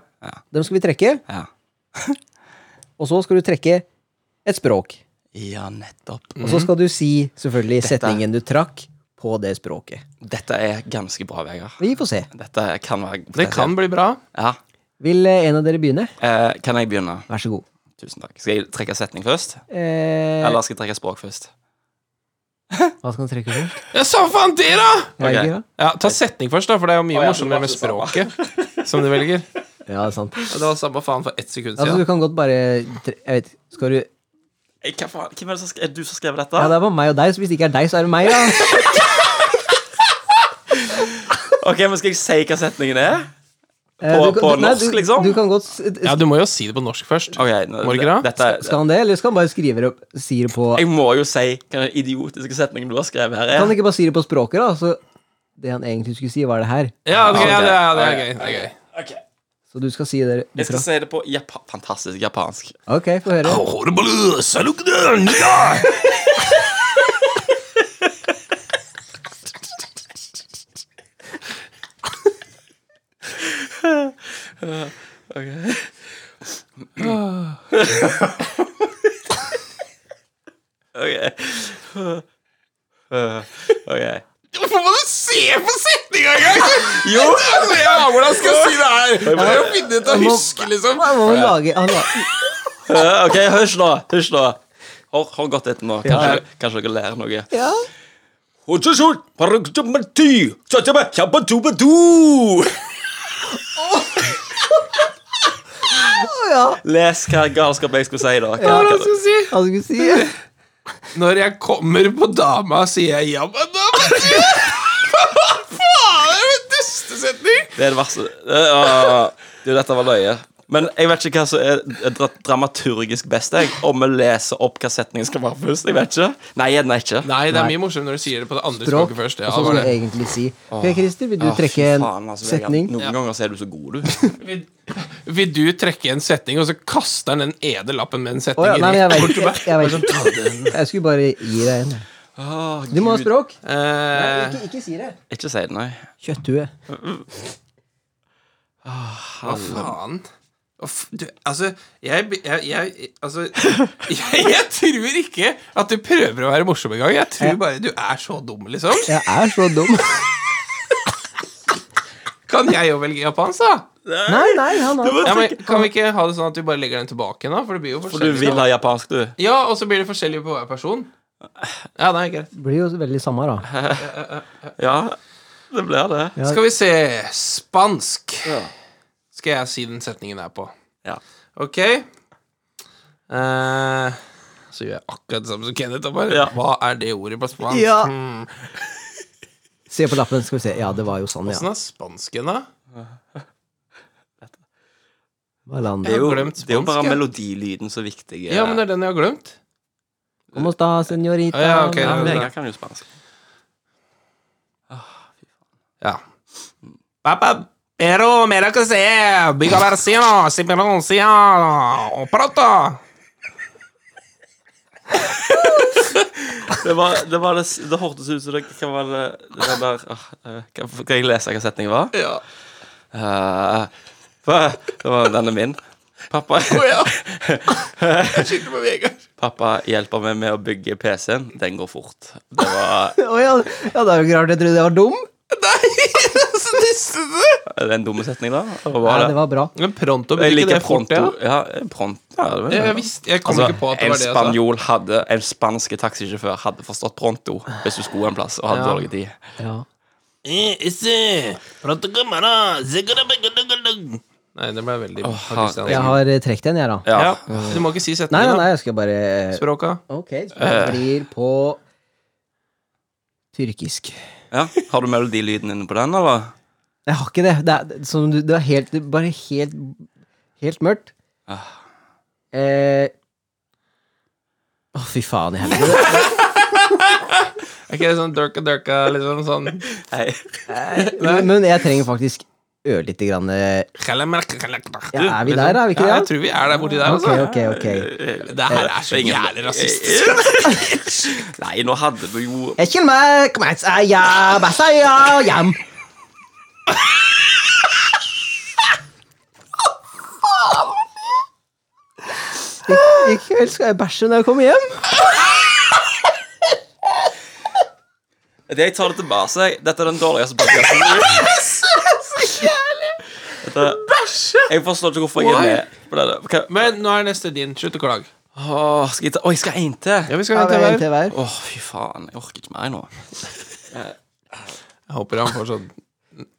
[SPEAKER 3] Dem skal vi trekke,
[SPEAKER 1] Ja.
[SPEAKER 3] og så skal du trekke et språk.
[SPEAKER 1] ja, nettopp.
[SPEAKER 3] Og så skal du si selvfølgelig setningen du trakk på det språket.
[SPEAKER 1] Dette er ganske bra, Vegard.
[SPEAKER 3] Vi får se.
[SPEAKER 1] Dette kan være
[SPEAKER 2] Det kan bli bra.
[SPEAKER 1] ja.
[SPEAKER 3] Vil eh, en av dere begynne?
[SPEAKER 1] Eh, Kan jeg begynne?
[SPEAKER 3] Vær så god.
[SPEAKER 1] Tusen takk. Skal jeg trekke setning først?
[SPEAKER 3] Eh,
[SPEAKER 1] Eller skal jeg trekke språk først?
[SPEAKER 3] Hva skal han trekke først?
[SPEAKER 2] Ja, samme faen det, da!
[SPEAKER 3] Jeg er
[SPEAKER 1] Ok.
[SPEAKER 3] gira.
[SPEAKER 2] Ja, Ta setning først, da, for det er jo mye
[SPEAKER 1] Å, ja,
[SPEAKER 2] morsommere med
[SPEAKER 1] det var
[SPEAKER 2] språket som du velger.
[SPEAKER 3] Ja, det er sant.
[SPEAKER 2] Ja, Det var samme faen for ett sekund
[SPEAKER 3] Altså,
[SPEAKER 2] siden.
[SPEAKER 3] du kan godt bare tre- Jeg vet Skal du Ja,
[SPEAKER 1] Hey, Hva faen? Hvem er det som skrev, du som skrev dette?
[SPEAKER 3] det er bare meg og deg, så hvis det ikke er deg, så er det meg, da.
[SPEAKER 1] Ok, men Skal jeg si hva setningen er?
[SPEAKER 3] Eh,
[SPEAKER 1] På-
[SPEAKER 3] du kan-
[SPEAKER 1] på
[SPEAKER 3] nei,
[SPEAKER 1] norsk,
[SPEAKER 3] du-
[SPEAKER 1] liksom?
[SPEAKER 3] Du kan godt s- s-
[SPEAKER 2] Ja, Du må jo si det på norsk først.
[SPEAKER 1] Ok, nå-
[SPEAKER 2] Må du ikke det?
[SPEAKER 1] Dette,
[SPEAKER 3] Skal han det, eller skal han bare skrive det opp Si det på
[SPEAKER 1] jeg må jo si hva den idiotiske setningen du har skrevet her,
[SPEAKER 3] Kan han
[SPEAKER 1] er.
[SPEAKER 3] ikke bare si det på språket, da? Så det han egentlig skulle si, var det her.
[SPEAKER 2] Ja, det, ja, det, ja, det er
[SPEAKER 1] Ok.
[SPEAKER 2] gøy. Det er gøy.
[SPEAKER 1] Ok,
[SPEAKER 3] Så du skal si det
[SPEAKER 1] Jeg skal
[SPEAKER 3] derfra.
[SPEAKER 1] si det på japa fantastisk japansk.
[SPEAKER 3] Ok, få høre.
[SPEAKER 1] Ok. Uh, ok.
[SPEAKER 2] Hvorfor må du se på setninga engang?!
[SPEAKER 1] Jo!
[SPEAKER 2] Altså, jeg aner hvordan jeg skal si det her! Jeg må jo finne ut og huske, liksom.
[SPEAKER 3] Han må lage han la,
[SPEAKER 1] Eh, ok, hysj nå. Hysj nå. Hør, hør godt etter nå. Kanskje, kanskje dere lærer noe.
[SPEAKER 3] Ja.
[SPEAKER 1] Hotsesjon, paragraf-ti, satsebe, kjabba-tuba-du.
[SPEAKER 3] Å ja!
[SPEAKER 1] Les hva galskap jeg skulle si, da. Hva,
[SPEAKER 2] Hva er det jeg
[SPEAKER 1] hva,
[SPEAKER 3] altså.
[SPEAKER 2] skal si?
[SPEAKER 3] Han skulle si
[SPEAKER 2] Når jeg kommer på dama, sier jeg 'jammen, da'. vet du. Hva faen? Det er min duste setning!
[SPEAKER 1] det er det verste. Eh, åh, du, dette var løye. Men jeg vet ikke hva som er dra dramaturgisk best. Jeg. Om vi leser opp hva setningen skal være først. Jeg vet ikke. Nei, gjerne ikke.
[SPEAKER 2] Nei, det er mye morsommere når du sier det på det andre
[SPEAKER 3] språk.
[SPEAKER 2] språket først.
[SPEAKER 3] og
[SPEAKER 2] Ja, det
[SPEAKER 3] så skal
[SPEAKER 2] var
[SPEAKER 3] du
[SPEAKER 2] det.
[SPEAKER 3] egentlig si Ok, Christer, vil du
[SPEAKER 1] Åh,
[SPEAKER 3] trekke
[SPEAKER 1] fy
[SPEAKER 3] en
[SPEAKER 1] faen, altså, Vegard.
[SPEAKER 3] setning?
[SPEAKER 1] Noen ganger så er du så god, du.
[SPEAKER 2] Vil, vil du trekke en setning, og så kaster han den ene lappen med en
[SPEAKER 3] Å
[SPEAKER 2] setning
[SPEAKER 3] ja, nei, men jeg
[SPEAKER 2] rett
[SPEAKER 3] vet
[SPEAKER 2] bort til
[SPEAKER 3] ikke.
[SPEAKER 2] meg?
[SPEAKER 3] Jeg, vet ikke. jeg skulle bare gi deg en.
[SPEAKER 1] Åh,
[SPEAKER 3] Du må ha
[SPEAKER 1] Gud.
[SPEAKER 3] språk.
[SPEAKER 2] Eh,
[SPEAKER 3] Ikke, ikke si det.
[SPEAKER 1] Ikke si det, nei.
[SPEAKER 3] Kjøtthue.
[SPEAKER 2] Hva faen? Hva f- Du, altså, jeg, be- jeg, jeg Altså, jeg, jeg tror ikke at du prøver å være morsom engang. Jeg tror bare du er så dum, liksom.
[SPEAKER 3] Jeg er så dum.
[SPEAKER 2] Kan jeg jo velge japansk, da?
[SPEAKER 3] Nei, nei, han har
[SPEAKER 2] Ja, men Kan vi ikke ha det sånn at du bare legger den tilbake nå? For det blir jo
[SPEAKER 1] For du
[SPEAKER 2] forskjellig.
[SPEAKER 1] vil ha japansk, du.
[SPEAKER 2] Ja, og så blir det forskjellig på hver person. Ja, det er greit.
[SPEAKER 3] blir jo veldig samme, da.
[SPEAKER 1] Ja, det blir det.
[SPEAKER 3] Ja.
[SPEAKER 2] Skal vi se Spansk. Skal jeg si den setningen her på.
[SPEAKER 1] Ja.
[SPEAKER 2] Ok. Eh, så gjør jeg akkurat det samme som Kenneth. Og bare,
[SPEAKER 1] Ja.
[SPEAKER 2] Hva er det ordet på spansk?
[SPEAKER 3] Ja.
[SPEAKER 2] Hmm.
[SPEAKER 3] Se på lappen, skal vi se. Ja, det var jo sånn, ja.
[SPEAKER 2] Åssen er spansken, da?
[SPEAKER 3] Hva la han
[SPEAKER 1] Det er
[SPEAKER 3] da?
[SPEAKER 1] jo,
[SPEAKER 2] har glemt
[SPEAKER 1] det er jo bare
[SPEAKER 2] spansk, ja.
[SPEAKER 1] melodilyden som er viktig. eh.
[SPEAKER 2] Ja, men det er den jeg har glemt.
[SPEAKER 3] Como sta, señorita?
[SPEAKER 2] Ja, ok,
[SPEAKER 1] Ja,
[SPEAKER 2] det-
[SPEAKER 1] Vegard kan jo spansk.
[SPEAKER 2] Ja. Pappa, pero mira que se Biga versino, si pronuncia o pronto.
[SPEAKER 1] Det, var, det, var det, det hørtes ut som det kan være det, det der åh, eh, kan, kan jeg lese hva setningen var?
[SPEAKER 2] Ja.
[SPEAKER 1] Eh, hva- det var denne min. Pappa,
[SPEAKER 2] ja. Jeg skyldte på Vegard.
[SPEAKER 1] pappa hjelper meg med å bygge PC-en. Den går fort. Det var
[SPEAKER 3] Å ja. ja, det er jo ikke rart jeg trodde jeg var dum.
[SPEAKER 2] Nei, altså, så niste det.
[SPEAKER 1] er det en dum setning, da. Hva
[SPEAKER 3] Ja,
[SPEAKER 1] var
[SPEAKER 3] det
[SPEAKER 1] det?
[SPEAKER 3] var bra.
[SPEAKER 2] Men pronto
[SPEAKER 1] Jeg
[SPEAKER 2] betyr ikke
[SPEAKER 1] liker
[SPEAKER 2] det fort,
[SPEAKER 1] pronto.
[SPEAKER 2] ja.
[SPEAKER 1] Ja, pronto. Ja, det var-
[SPEAKER 2] Jeg, jeg, visste, jeg kom
[SPEAKER 1] Altså,
[SPEAKER 2] ikke på at det
[SPEAKER 1] en
[SPEAKER 2] var det jeg sa.
[SPEAKER 1] spanjol hadde En spanske taxisjåfør hadde forstått pronto hvis du skulle en plass og hadde
[SPEAKER 2] Ja.
[SPEAKER 1] dårlig tid.
[SPEAKER 3] Ja.
[SPEAKER 2] Nei, det ble veldig
[SPEAKER 1] Åh,
[SPEAKER 2] Pakistan.
[SPEAKER 1] herregud.
[SPEAKER 3] Jeg har eh, trukket en, jeg, da.
[SPEAKER 1] Ja.
[SPEAKER 2] Ja, du må ikke si
[SPEAKER 3] Nei, nei,
[SPEAKER 2] setningen.
[SPEAKER 3] nei, jeg skal bare eh,
[SPEAKER 2] Språka.
[SPEAKER 3] Ok, så det blir på tyrkisk.
[SPEAKER 1] Ja. Har du melodilyden inne på den, eller?
[SPEAKER 3] Jeg har ikke det. Det er, som du, det er helt, det er bare helt Helt mørkt. Eh, Å, fy faen i helvete.
[SPEAKER 2] Er ikke det sånn durka durka, liksom sånn
[SPEAKER 1] Nei.
[SPEAKER 3] Men- Men jeg trenger faktisk ørlite grann eh, ja, Er vi der, da? Er vi ikke
[SPEAKER 2] Ja, jeg
[SPEAKER 3] det?
[SPEAKER 2] tror vi er der borti der,
[SPEAKER 3] da?
[SPEAKER 2] altså.
[SPEAKER 3] Ok, ok, ok.
[SPEAKER 2] Det her er så jævlig rasistisk.
[SPEAKER 1] Nei, nå hadde du jo
[SPEAKER 3] Jeg kjenner meg kom her, eh, ja, basta, ja, jam. I, I kveld skal jeg bæsje når jeg kommer hjem.
[SPEAKER 1] Det Jeg tar det tilbake. jeg. Dette er den dårligste podkasten. Dette... Jeg forstår ikke hvorfor jeg er med på det. der. Hva-
[SPEAKER 2] Men nå er neste din. Slutt å klage.
[SPEAKER 1] Åh, skal jeg ta Oi, skal jeg en til?
[SPEAKER 2] Ja, vi skal
[SPEAKER 3] Ja,
[SPEAKER 2] ha
[SPEAKER 3] vi
[SPEAKER 2] en
[SPEAKER 3] har en
[SPEAKER 2] til hver.
[SPEAKER 3] til hver.
[SPEAKER 1] Åh, fy faen. Jeg orker ikke mer nå.
[SPEAKER 2] Jeg håper han får sånn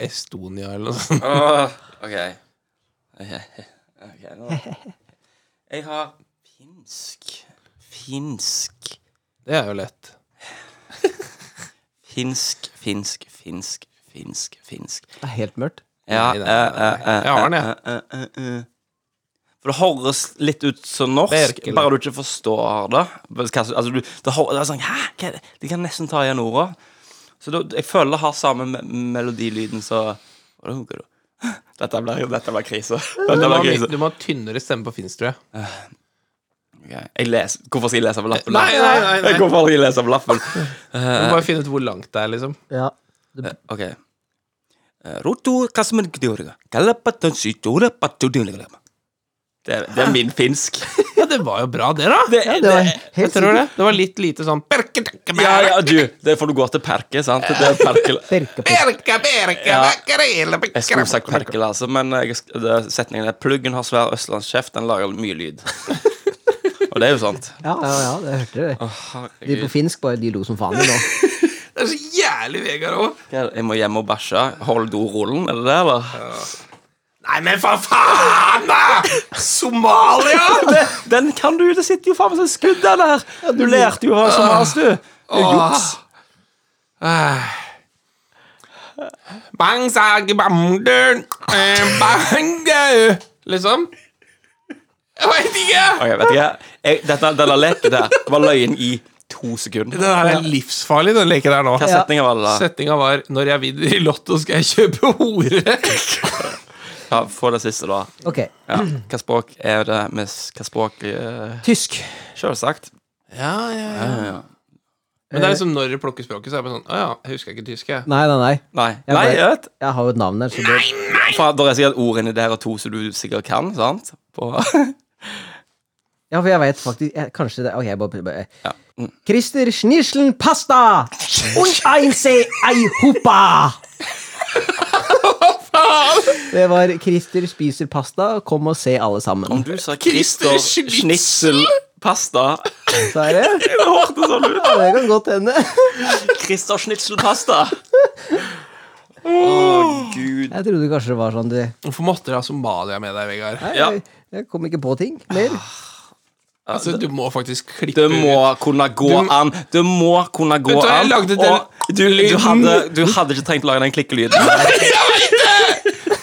[SPEAKER 2] Estonia eller noe sånt.
[SPEAKER 1] Åh, OK. Ok, ok, nå- Jeg har finsk. Finsk.
[SPEAKER 2] Det er jo lett.
[SPEAKER 1] Finsk, finsk, finsk, finsk, finsk.
[SPEAKER 3] Det er helt mørkt.
[SPEAKER 1] Ja,
[SPEAKER 2] Nei, nei,
[SPEAKER 1] eh, eh, eh,
[SPEAKER 2] Jeg har den, jeg.
[SPEAKER 1] eh, eh, eh, eh. For det høres litt ut som norsk,
[SPEAKER 2] Berkele.
[SPEAKER 1] bare du ikke forstår det. Hva- hva- Altså, du, det, hør- det er sånn, Hæ? Hva er det? De kan nesten ta igjen ordene. Så da- jeg føler det har samme me melodilyden som Dette blir dette blir krise. Dette
[SPEAKER 2] Du må,
[SPEAKER 1] blir
[SPEAKER 2] ha,
[SPEAKER 1] krise.
[SPEAKER 2] du må ha tynnere stemme på finsk, tror jeg.
[SPEAKER 1] Ok, Jeg leser. Hvorfor skal jeg lese på lappen?
[SPEAKER 2] Nei, nei, nei, nei.
[SPEAKER 1] Hvorfor skal jeg lese på lappen?
[SPEAKER 2] Du må bare finne ut hvor langt det er, liksom.
[SPEAKER 3] Ja.
[SPEAKER 1] Ok. Eh, rotu kasmen gdurga, kalapatan sytura patudurga. Det er, det er min finsk.
[SPEAKER 2] Ja, det var jo bra, det, da.
[SPEAKER 1] Det,
[SPEAKER 3] ja, det var
[SPEAKER 2] Jeg
[SPEAKER 3] helt
[SPEAKER 2] tror det.
[SPEAKER 3] sikkert.
[SPEAKER 2] Det var litt lite sånn Berke, berke,
[SPEAKER 1] Ja, ja, du, det får du gå til Perke, sant? Det er perkel...
[SPEAKER 3] Ferka på.
[SPEAKER 2] berke, berke,
[SPEAKER 1] Ja.
[SPEAKER 2] berkerele, berkerele.
[SPEAKER 1] Jeg skulle sagt Perkel, altså, men jeg, det, setningen er 'Pluggen har svær østlandskjeft, den lager mye lyd'. Og det er jo sant.
[SPEAKER 3] Ja, ja, ja, det hørte dere. De på
[SPEAKER 1] Herregud.
[SPEAKER 3] finsk bare de lo som faen. de nå.
[SPEAKER 2] Det er så jævlig Vegard òg.
[SPEAKER 1] Jeg må hjem og bæsje. Hold dorullen, er det det, eller?
[SPEAKER 2] Nei, men for faen, da! Somalia!
[SPEAKER 1] Det, den kan du! Det sitter jo faen meg som et skudd, den her! Du lærte jo hva som helst, du. Det er juks.
[SPEAKER 2] Bang, sag, bam, dun, eh, bang, eh, Liksom. Jeg veit ikke!
[SPEAKER 1] Ok, vet ikke jeg, dette, Denne leken der var løgn i to sekunder.
[SPEAKER 2] Den her er livsfarlig, den leken der nå.
[SPEAKER 1] Hva setningen var det da?
[SPEAKER 2] Setninga var 'Når jeg vinner i Lotto, skal jeg kjøpe hore'.
[SPEAKER 1] Ja, Få det siste, da.
[SPEAKER 3] Ok.
[SPEAKER 1] Ja. Hva språk er det med s- Hva språk eh,
[SPEAKER 3] Tysk.
[SPEAKER 1] Selvsagt.
[SPEAKER 2] Ja, ja, ja.
[SPEAKER 1] Ja, ja.
[SPEAKER 2] Men det er liksom når du plukker språket, så er det bare sånn Å ja, jeg husker ikke tysk, jeg.
[SPEAKER 3] Nei, nei, nei.
[SPEAKER 1] Nei,
[SPEAKER 3] Jeg
[SPEAKER 1] Nei
[SPEAKER 3] bare-
[SPEAKER 1] jeg vet
[SPEAKER 3] Jeg har jo et navn der, så det
[SPEAKER 1] Faen, Der er sikkert ord inni der og to som du sikkert kan, sant? På
[SPEAKER 3] Ja, for jeg veit faktisk jeg, Kanskje det Ok, jeg bare, bare.
[SPEAKER 1] Ja. Mm.
[SPEAKER 3] Christer Schnischeln Pasta! Und einse Eihopa! Det var Christer spiser pasta, kom og se alle
[SPEAKER 1] Om
[SPEAKER 3] sammen.
[SPEAKER 1] du sa
[SPEAKER 2] Christer
[SPEAKER 1] Christer
[SPEAKER 2] Schnitzel.
[SPEAKER 1] Schnitzelpasta
[SPEAKER 3] Så er det.
[SPEAKER 1] Det hørtes sånn ut!
[SPEAKER 3] Ja, det kan godt hende.
[SPEAKER 1] Christer Schnitzelpasta. Å, gud.
[SPEAKER 3] Jeg trodde kanskje det var sånn du
[SPEAKER 2] Hvorfor måtte du ha Somalia med deg, Vegard?
[SPEAKER 3] Nei,
[SPEAKER 1] Ja.
[SPEAKER 3] jeg, jeg kom ikke på ting mer.
[SPEAKER 2] Altså, du må faktisk klippe
[SPEAKER 1] Det må kunne gå
[SPEAKER 2] Du-
[SPEAKER 1] an. Det må kunne gå
[SPEAKER 2] Vet du hva, jeg
[SPEAKER 1] an.
[SPEAKER 2] lagde den
[SPEAKER 1] og du, du,
[SPEAKER 2] lyden.
[SPEAKER 1] hadde, du hadde ikke trengt å lage den klikkelyden.
[SPEAKER 2] ut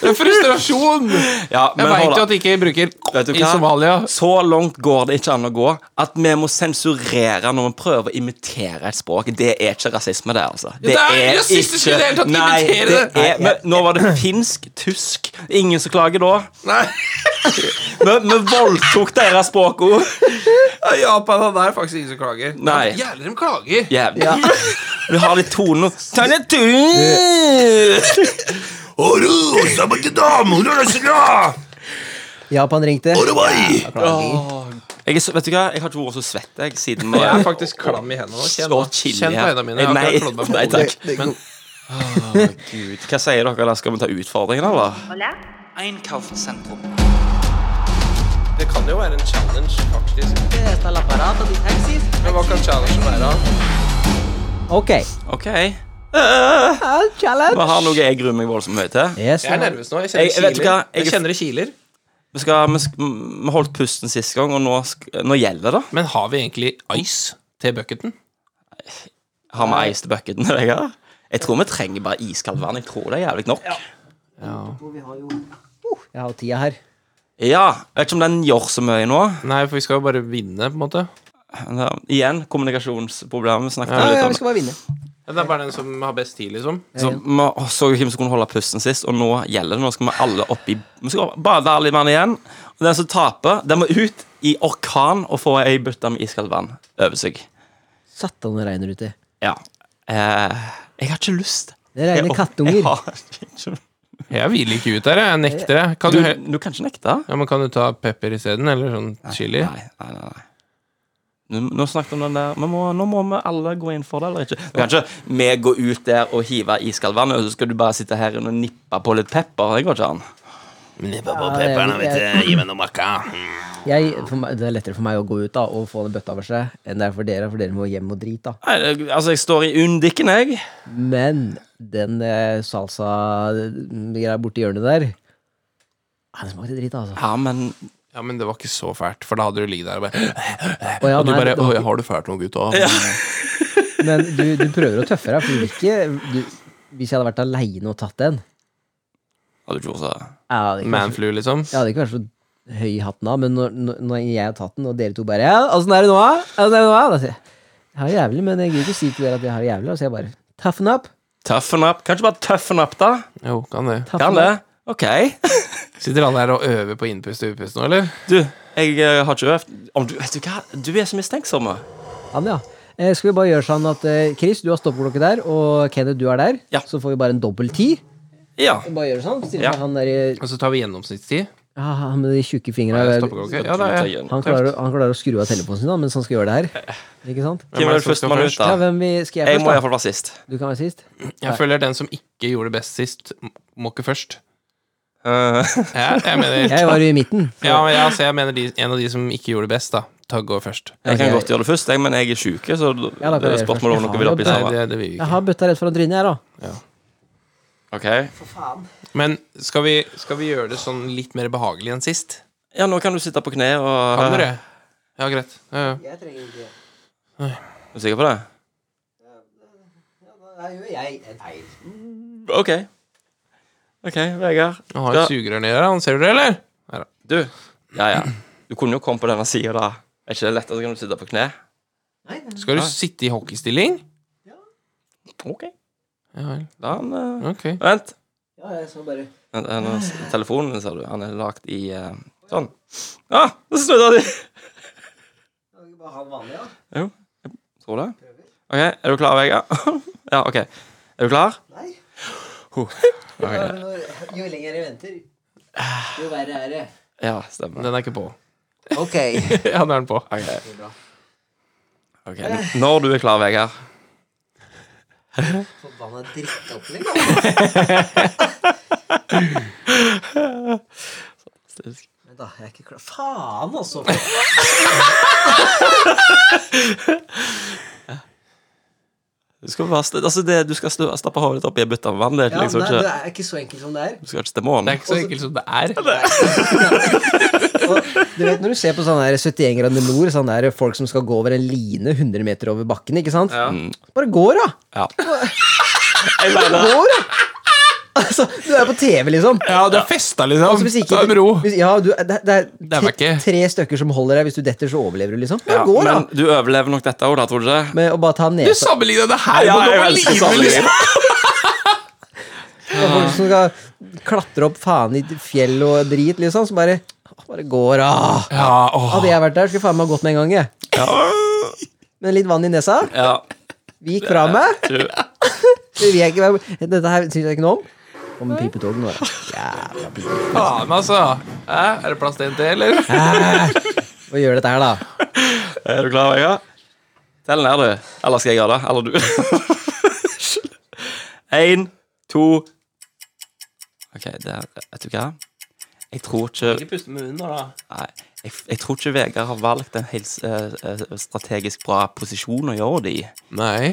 [SPEAKER 2] Det er frustrasjon!
[SPEAKER 1] Ja, men
[SPEAKER 2] Jeg veit
[SPEAKER 1] hold
[SPEAKER 2] jo
[SPEAKER 1] da.
[SPEAKER 2] at de ikke bruker
[SPEAKER 1] Vet du
[SPEAKER 2] i
[SPEAKER 1] hva?
[SPEAKER 2] Somalia.
[SPEAKER 1] Så langt går det ikke an å gå at vi må sensurere når vi prøver å imitere et språk. Det er ikke rasisme, det, altså.
[SPEAKER 2] det er rasistisk i det hele tatt å
[SPEAKER 1] Nei,
[SPEAKER 2] imitere
[SPEAKER 1] det
[SPEAKER 2] det.
[SPEAKER 1] er, men, Nå var det finsk, tysk Ingen som klager da.
[SPEAKER 2] Nei,
[SPEAKER 1] Vi, vi voldtok deres språkord.
[SPEAKER 2] Japan han er faktisk ingen som klager.
[SPEAKER 1] Nei.
[SPEAKER 2] Jævlig de klager.
[SPEAKER 1] Jævlig. Vi har litt tone nå. Ta det tur!
[SPEAKER 3] Japan ringte.
[SPEAKER 1] Jeg er så, vet du hva? Jeg har ikke vært så svett jeg, siden
[SPEAKER 2] Jeg er
[SPEAKER 1] vi
[SPEAKER 2] faktisk klam i hendene. nå. Kjenn,
[SPEAKER 1] Så
[SPEAKER 2] nå.
[SPEAKER 1] chillig
[SPEAKER 2] Kjenn på
[SPEAKER 1] her.
[SPEAKER 2] hendene mine. Jeg har
[SPEAKER 1] Nei,
[SPEAKER 2] akkurat slått meg på
[SPEAKER 1] nei,
[SPEAKER 2] hodet.
[SPEAKER 1] takk.
[SPEAKER 2] Men
[SPEAKER 1] Gud, Hva sier dere? da? Skal vi ta utfordringen, eller?
[SPEAKER 6] Hola.
[SPEAKER 1] Einkaufssentrum.
[SPEAKER 2] det kan jo være en challenge, faktisk. Men hva kan challenge være?
[SPEAKER 3] Ok.
[SPEAKER 1] Ok. Eh, Vi har noe jeg gruer meg voldsomt mye til.
[SPEAKER 3] Yes,
[SPEAKER 2] Jeg er
[SPEAKER 3] ja.
[SPEAKER 2] nervøs nå. Jeg
[SPEAKER 1] Jeg- jeg
[SPEAKER 2] kjenner
[SPEAKER 1] vet
[SPEAKER 2] det
[SPEAKER 1] ikke hva,
[SPEAKER 2] kiler.
[SPEAKER 1] jeg-
[SPEAKER 2] Jeg kjenner det kiler.
[SPEAKER 1] Vi, skal, vi, sk- vi holdt pusten sist gang, og nå, sk- nå gjelder det.
[SPEAKER 2] Men har vi egentlig ice til bucketen?
[SPEAKER 1] Har vi ice til bucketen? Vegard? Jeg tror vi trenger bare iskaldt vann. Jeg tror det er jævlig nok. Ja,
[SPEAKER 3] Jeg har tida her.
[SPEAKER 1] Vet ikke om den gjør så mye nå.
[SPEAKER 2] Nei, for vi skal jo bare vinne, på en måte.
[SPEAKER 1] Men, eh, igjen kommunikasjonsproblemer. Vi snakket
[SPEAKER 3] Ja, ja, vi
[SPEAKER 1] litt om
[SPEAKER 3] skal bare vinne.
[SPEAKER 2] Ja, det er bare den som har best tid, liksom.
[SPEAKER 1] så vi så jo hvem som kunne holde pusten sist, og nå gjelder det. Nå skal vi alle opp i Vi skal bade alle mann igjen. Og den som taper, den må ut i orkan og få ei bøtte med iskaldt vann over seg.
[SPEAKER 3] Satan, det regner ute.
[SPEAKER 1] Ja. Eh, jeg har ikke lyst.
[SPEAKER 3] Det regner
[SPEAKER 1] Jeg-
[SPEAKER 3] kattunger.
[SPEAKER 1] jeg har ikke-
[SPEAKER 2] Jeg hviler ikke ut der, jeg. Jeg nekter det. Kan du,
[SPEAKER 1] Du,
[SPEAKER 2] he-
[SPEAKER 1] du kan ikke nekte.
[SPEAKER 2] ja, men kan du ta pepper isteden, eller sånn chili?
[SPEAKER 1] Nei, nei, nei. nei. Nå, nå snakket vi om den der vi må, Nå må vi alle gå inn for det, eller ikke? Vi kan ikke vi gå ut der og hive iskaldt vann, og så skal du bare sitte her og nippe på litt pepper. Det går ikke an.
[SPEAKER 2] Nippa
[SPEAKER 3] Ja, det er pepperne, vet du.
[SPEAKER 2] Eh, Gi meg noe makka.
[SPEAKER 3] Jeg, for meg, det er lettere for meg å gå ut da og få den bøtta over seg enn det er for dere, for dere må hjem og drite. da
[SPEAKER 1] Nei, det- altså, jeg står i undikken, jeg.
[SPEAKER 3] Men den eh, salsa-greia borti hjørnet der ah, Den smakte drit, altså.
[SPEAKER 1] Ja, men
[SPEAKER 2] Ja, men det var ikke så fælt, for da hadde du ligget der og bare
[SPEAKER 3] Å, ja,
[SPEAKER 2] Og du
[SPEAKER 3] nei,
[SPEAKER 2] bare
[SPEAKER 3] det var
[SPEAKER 2] Oi,
[SPEAKER 3] ikke-
[SPEAKER 2] har du fælt noe, gutta?
[SPEAKER 1] Mm.
[SPEAKER 3] Men du, du prøver å tøffe deg, for du vil ikke du, Hvis jeg hadde vært aleine og tatt den
[SPEAKER 1] Hadde du ikke gjort så
[SPEAKER 3] Jeg hadde ikke vært så-
[SPEAKER 2] Manflu, liksom.
[SPEAKER 3] jeg hadde ikke vært så høy i hatten da, men når, når- når jeg har tatt den, og dere to bare Ja, åssen er det nå, da? Åssen er det nå, da? Da sier jeg Jeg har det jævlig, men jeg gidder ikke si til dere at jeg har det jævlig, og så jeg bare Toughen up.
[SPEAKER 1] Tøffen opp. Kanskje bare tøffen opp, da?
[SPEAKER 2] Jo, kan det.
[SPEAKER 1] Kan
[SPEAKER 3] Toughen up.
[SPEAKER 1] det? Ok.
[SPEAKER 2] Sitter han der og øver på innpust og utpust nå, eller?
[SPEAKER 1] Du, jeg eh, har ikke øvd. Om du, vet du hva? Du er så mistenksom. eh.
[SPEAKER 3] Han, ja. Eh, skal vi bare gjøre sånn at eh, Chris, du har stoppeklokke der, og Kenneth, du er der.
[SPEAKER 1] Ja.
[SPEAKER 3] Så får vi bare en dobbel ti.
[SPEAKER 1] Ja.
[SPEAKER 3] Vi Bare gjør det sånn. Stiller
[SPEAKER 1] Ja.
[SPEAKER 3] ja. han der i
[SPEAKER 2] Og så tar vi gjennomsnittstid.
[SPEAKER 3] ja, han med de tjukke fingra.
[SPEAKER 2] Ja,
[SPEAKER 3] Han,
[SPEAKER 2] stoppeklokke. Ja, da er jeg.
[SPEAKER 3] klarer å- han klarer å skru av telefonen sin da, mens han skal gjøre det her. Ikke sant?
[SPEAKER 1] Hvem er det
[SPEAKER 2] som skal
[SPEAKER 1] førstemann ut,
[SPEAKER 2] først?
[SPEAKER 3] Ja,
[SPEAKER 1] da?
[SPEAKER 3] hvem vi, skal jeg
[SPEAKER 1] Jeg må
[SPEAKER 3] først?
[SPEAKER 1] iallfall være sist.
[SPEAKER 3] Da? Du kan være sist.
[SPEAKER 2] Jeg føler den som ikke gjorde det best sist, m- må ikke først.
[SPEAKER 1] Eh,
[SPEAKER 2] Ja, jeg mener
[SPEAKER 3] Jeg var i midten.
[SPEAKER 2] Ja, men ja, så jeg mener de, en av de som ikke gjorde det best, da. Ta gå først.
[SPEAKER 1] jeg
[SPEAKER 3] Ok.
[SPEAKER 1] kan godt gjøre det først, jeg, men jeg er sjuk, så det
[SPEAKER 3] Ja, da
[SPEAKER 1] er
[SPEAKER 3] kan jeg gjøre det
[SPEAKER 1] spørsmål om
[SPEAKER 3] først.
[SPEAKER 1] noe vil opp i
[SPEAKER 3] Jeg
[SPEAKER 2] Nei,
[SPEAKER 1] samme.
[SPEAKER 2] det, det vil vi
[SPEAKER 3] Jeg
[SPEAKER 2] ikke.
[SPEAKER 3] har bøtta rett foran trynet, jeg, da.
[SPEAKER 1] Ok.
[SPEAKER 2] Men skal vi, skal vi gjøre det sånn litt mer behagelig enn sist?
[SPEAKER 1] Ja, nå kan du sitte på kne og eh,
[SPEAKER 2] Kan dere? Ja, greit. Ja, ja.
[SPEAKER 3] Jeg trenger ikke
[SPEAKER 1] Er du sikker på det?
[SPEAKER 3] Da gjør jeg en feil.
[SPEAKER 1] Ok. Ok, Vegard.
[SPEAKER 2] Han har et sugerør nedi der, han ser du det, eller?
[SPEAKER 1] Du. Ja, ja. Du kunne jo komme på denne sida, da. Er ikke det lett, så kan du sitte på kne?
[SPEAKER 2] Skal du
[SPEAKER 1] Ja.
[SPEAKER 2] sitte i hockeystilling?
[SPEAKER 1] Ok.
[SPEAKER 2] Ja vel.
[SPEAKER 1] Da er han eh,
[SPEAKER 2] Ok.
[SPEAKER 1] Vent.
[SPEAKER 3] Ja, jeg så bare
[SPEAKER 1] Vent, han har- Telefonen, ser du. Han er lagd i eh, Sånn. Ja, ah, så snudde de.
[SPEAKER 3] Bare ha den vanlige, da.
[SPEAKER 1] Tror du? Ok, er du klar, Vegard? ja, ok. Er du klar?
[SPEAKER 3] Nei.
[SPEAKER 1] Ho. Ok.
[SPEAKER 3] Jo lenger jeg venter, jo verre er det.
[SPEAKER 1] Ja, stemmer.
[SPEAKER 2] Den er ikke på.
[SPEAKER 3] Ok.
[SPEAKER 2] ja, nå er den på.
[SPEAKER 1] Ok. Ok, n- Når du er klar, Vegard.
[SPEAKER 3] Forbanna drittopplegg, altså. da. Vent da, jeg er ikke klar. Faen, altså!
[SPEAKER 1] Du skal, bare st altså det, du skal stø- stappe hodet ditt opp i en bøtte med vann. Det er
[SPEAKER 3] Ja,
[SPEAKER 1] liksom
[SPEAKER 2] sånn
[SPEAKER 3] nei, det
[SPEAKER 1] ikke,
[SPEAKER 3] er ikke så enkelt som det er.
[SPEAKER 1] du skal ikke til månen.
[SPEAKER 2] Det er ikke så enkelt som det er.
[SPEAKER 3] Og du vet Når du ser på sånne her 71 grader nord, sånne her folk som skal gå over en line 100 meter over bakken, ikke sant?
[SPEAKER 2] Mm.
[SPEAKER 3] Bare gå, da!
[SPEAKER 1] Ja.
[SPEAKER 3] Jeg Gå, da! Altså, du er på TV, liksom.
[SPEAKER 2] Ja, du er festa, liksom.
[SPEAKER 3] Altså, hvis ikke,
[SPEAKER 2] Ta det med ro.
[SPEAKER 3] Hvis, ja, du, det, det er,
[SPEAKER 2] er meg ikke.
[SPEAKER 3] tre stykker som holder deg. Hvis du detter, så overlever du, liksom. Bare
[SPEAKER 1] Ja,
[SPEAKER 3] gå, da!
[SPEAKER 1] men du overlever nok dette òg, da, tror du ikke?
[SPEAKER 3] Med å bare ta
[SPEAKER 2] Du
[SPEAKER 3] nesa
[SPEAKER 2] sammenligna det her
[SPEAKER 1] Ja,
[SPEAKER 2] med
[SPEAKER 1] jeg
[SPEAKER 2] noe
[SPEAKER 1] elsker
[SPEAKER 2] livet, liksom.
[SPEAKER 1] sammenligning.
[SPEAKER 3] Det er Folk som skal klatre opp faen i fjell og drit, liksom. Så bare Bare gå, da!
[SPEAKER 2] Ja, åh.
[SPEAKER 3] Hadde jeg vært der, skulle jeg faen meg gått med en gang, jeg. Med litt vann i nesa.
[SPEAKER 1] Ja.
[SPEAKER 3] Vi gikk fra meg.
[SPEAKER 1] Du,
[SPEAKER 3] Vi vil ikke være- Dette her syns jeg ikke noe om. Om pipetog nå, da. Jævla pipe.
[SPEAKER 2] Faen, altså. Hæ? Er det plass til en til, eller?
[SPEAKER 3] Og gjør dette her, da.
[SPEAKER 1] er du klar, Vegard? Tell ned, du. Eller skal jeg gjøre det? Eller du? Én, to Ok, der. Vet du hva? Jeg tror ikke
[SPEAKER 2] puste med munnen, da.
[SPEAKER 1] Nei, jeg, jeg tror ikke Vegard har valgt en helt eh, eh, strategisk bra posisjon å gjøre det i.
[SPEAKER 2] Nei.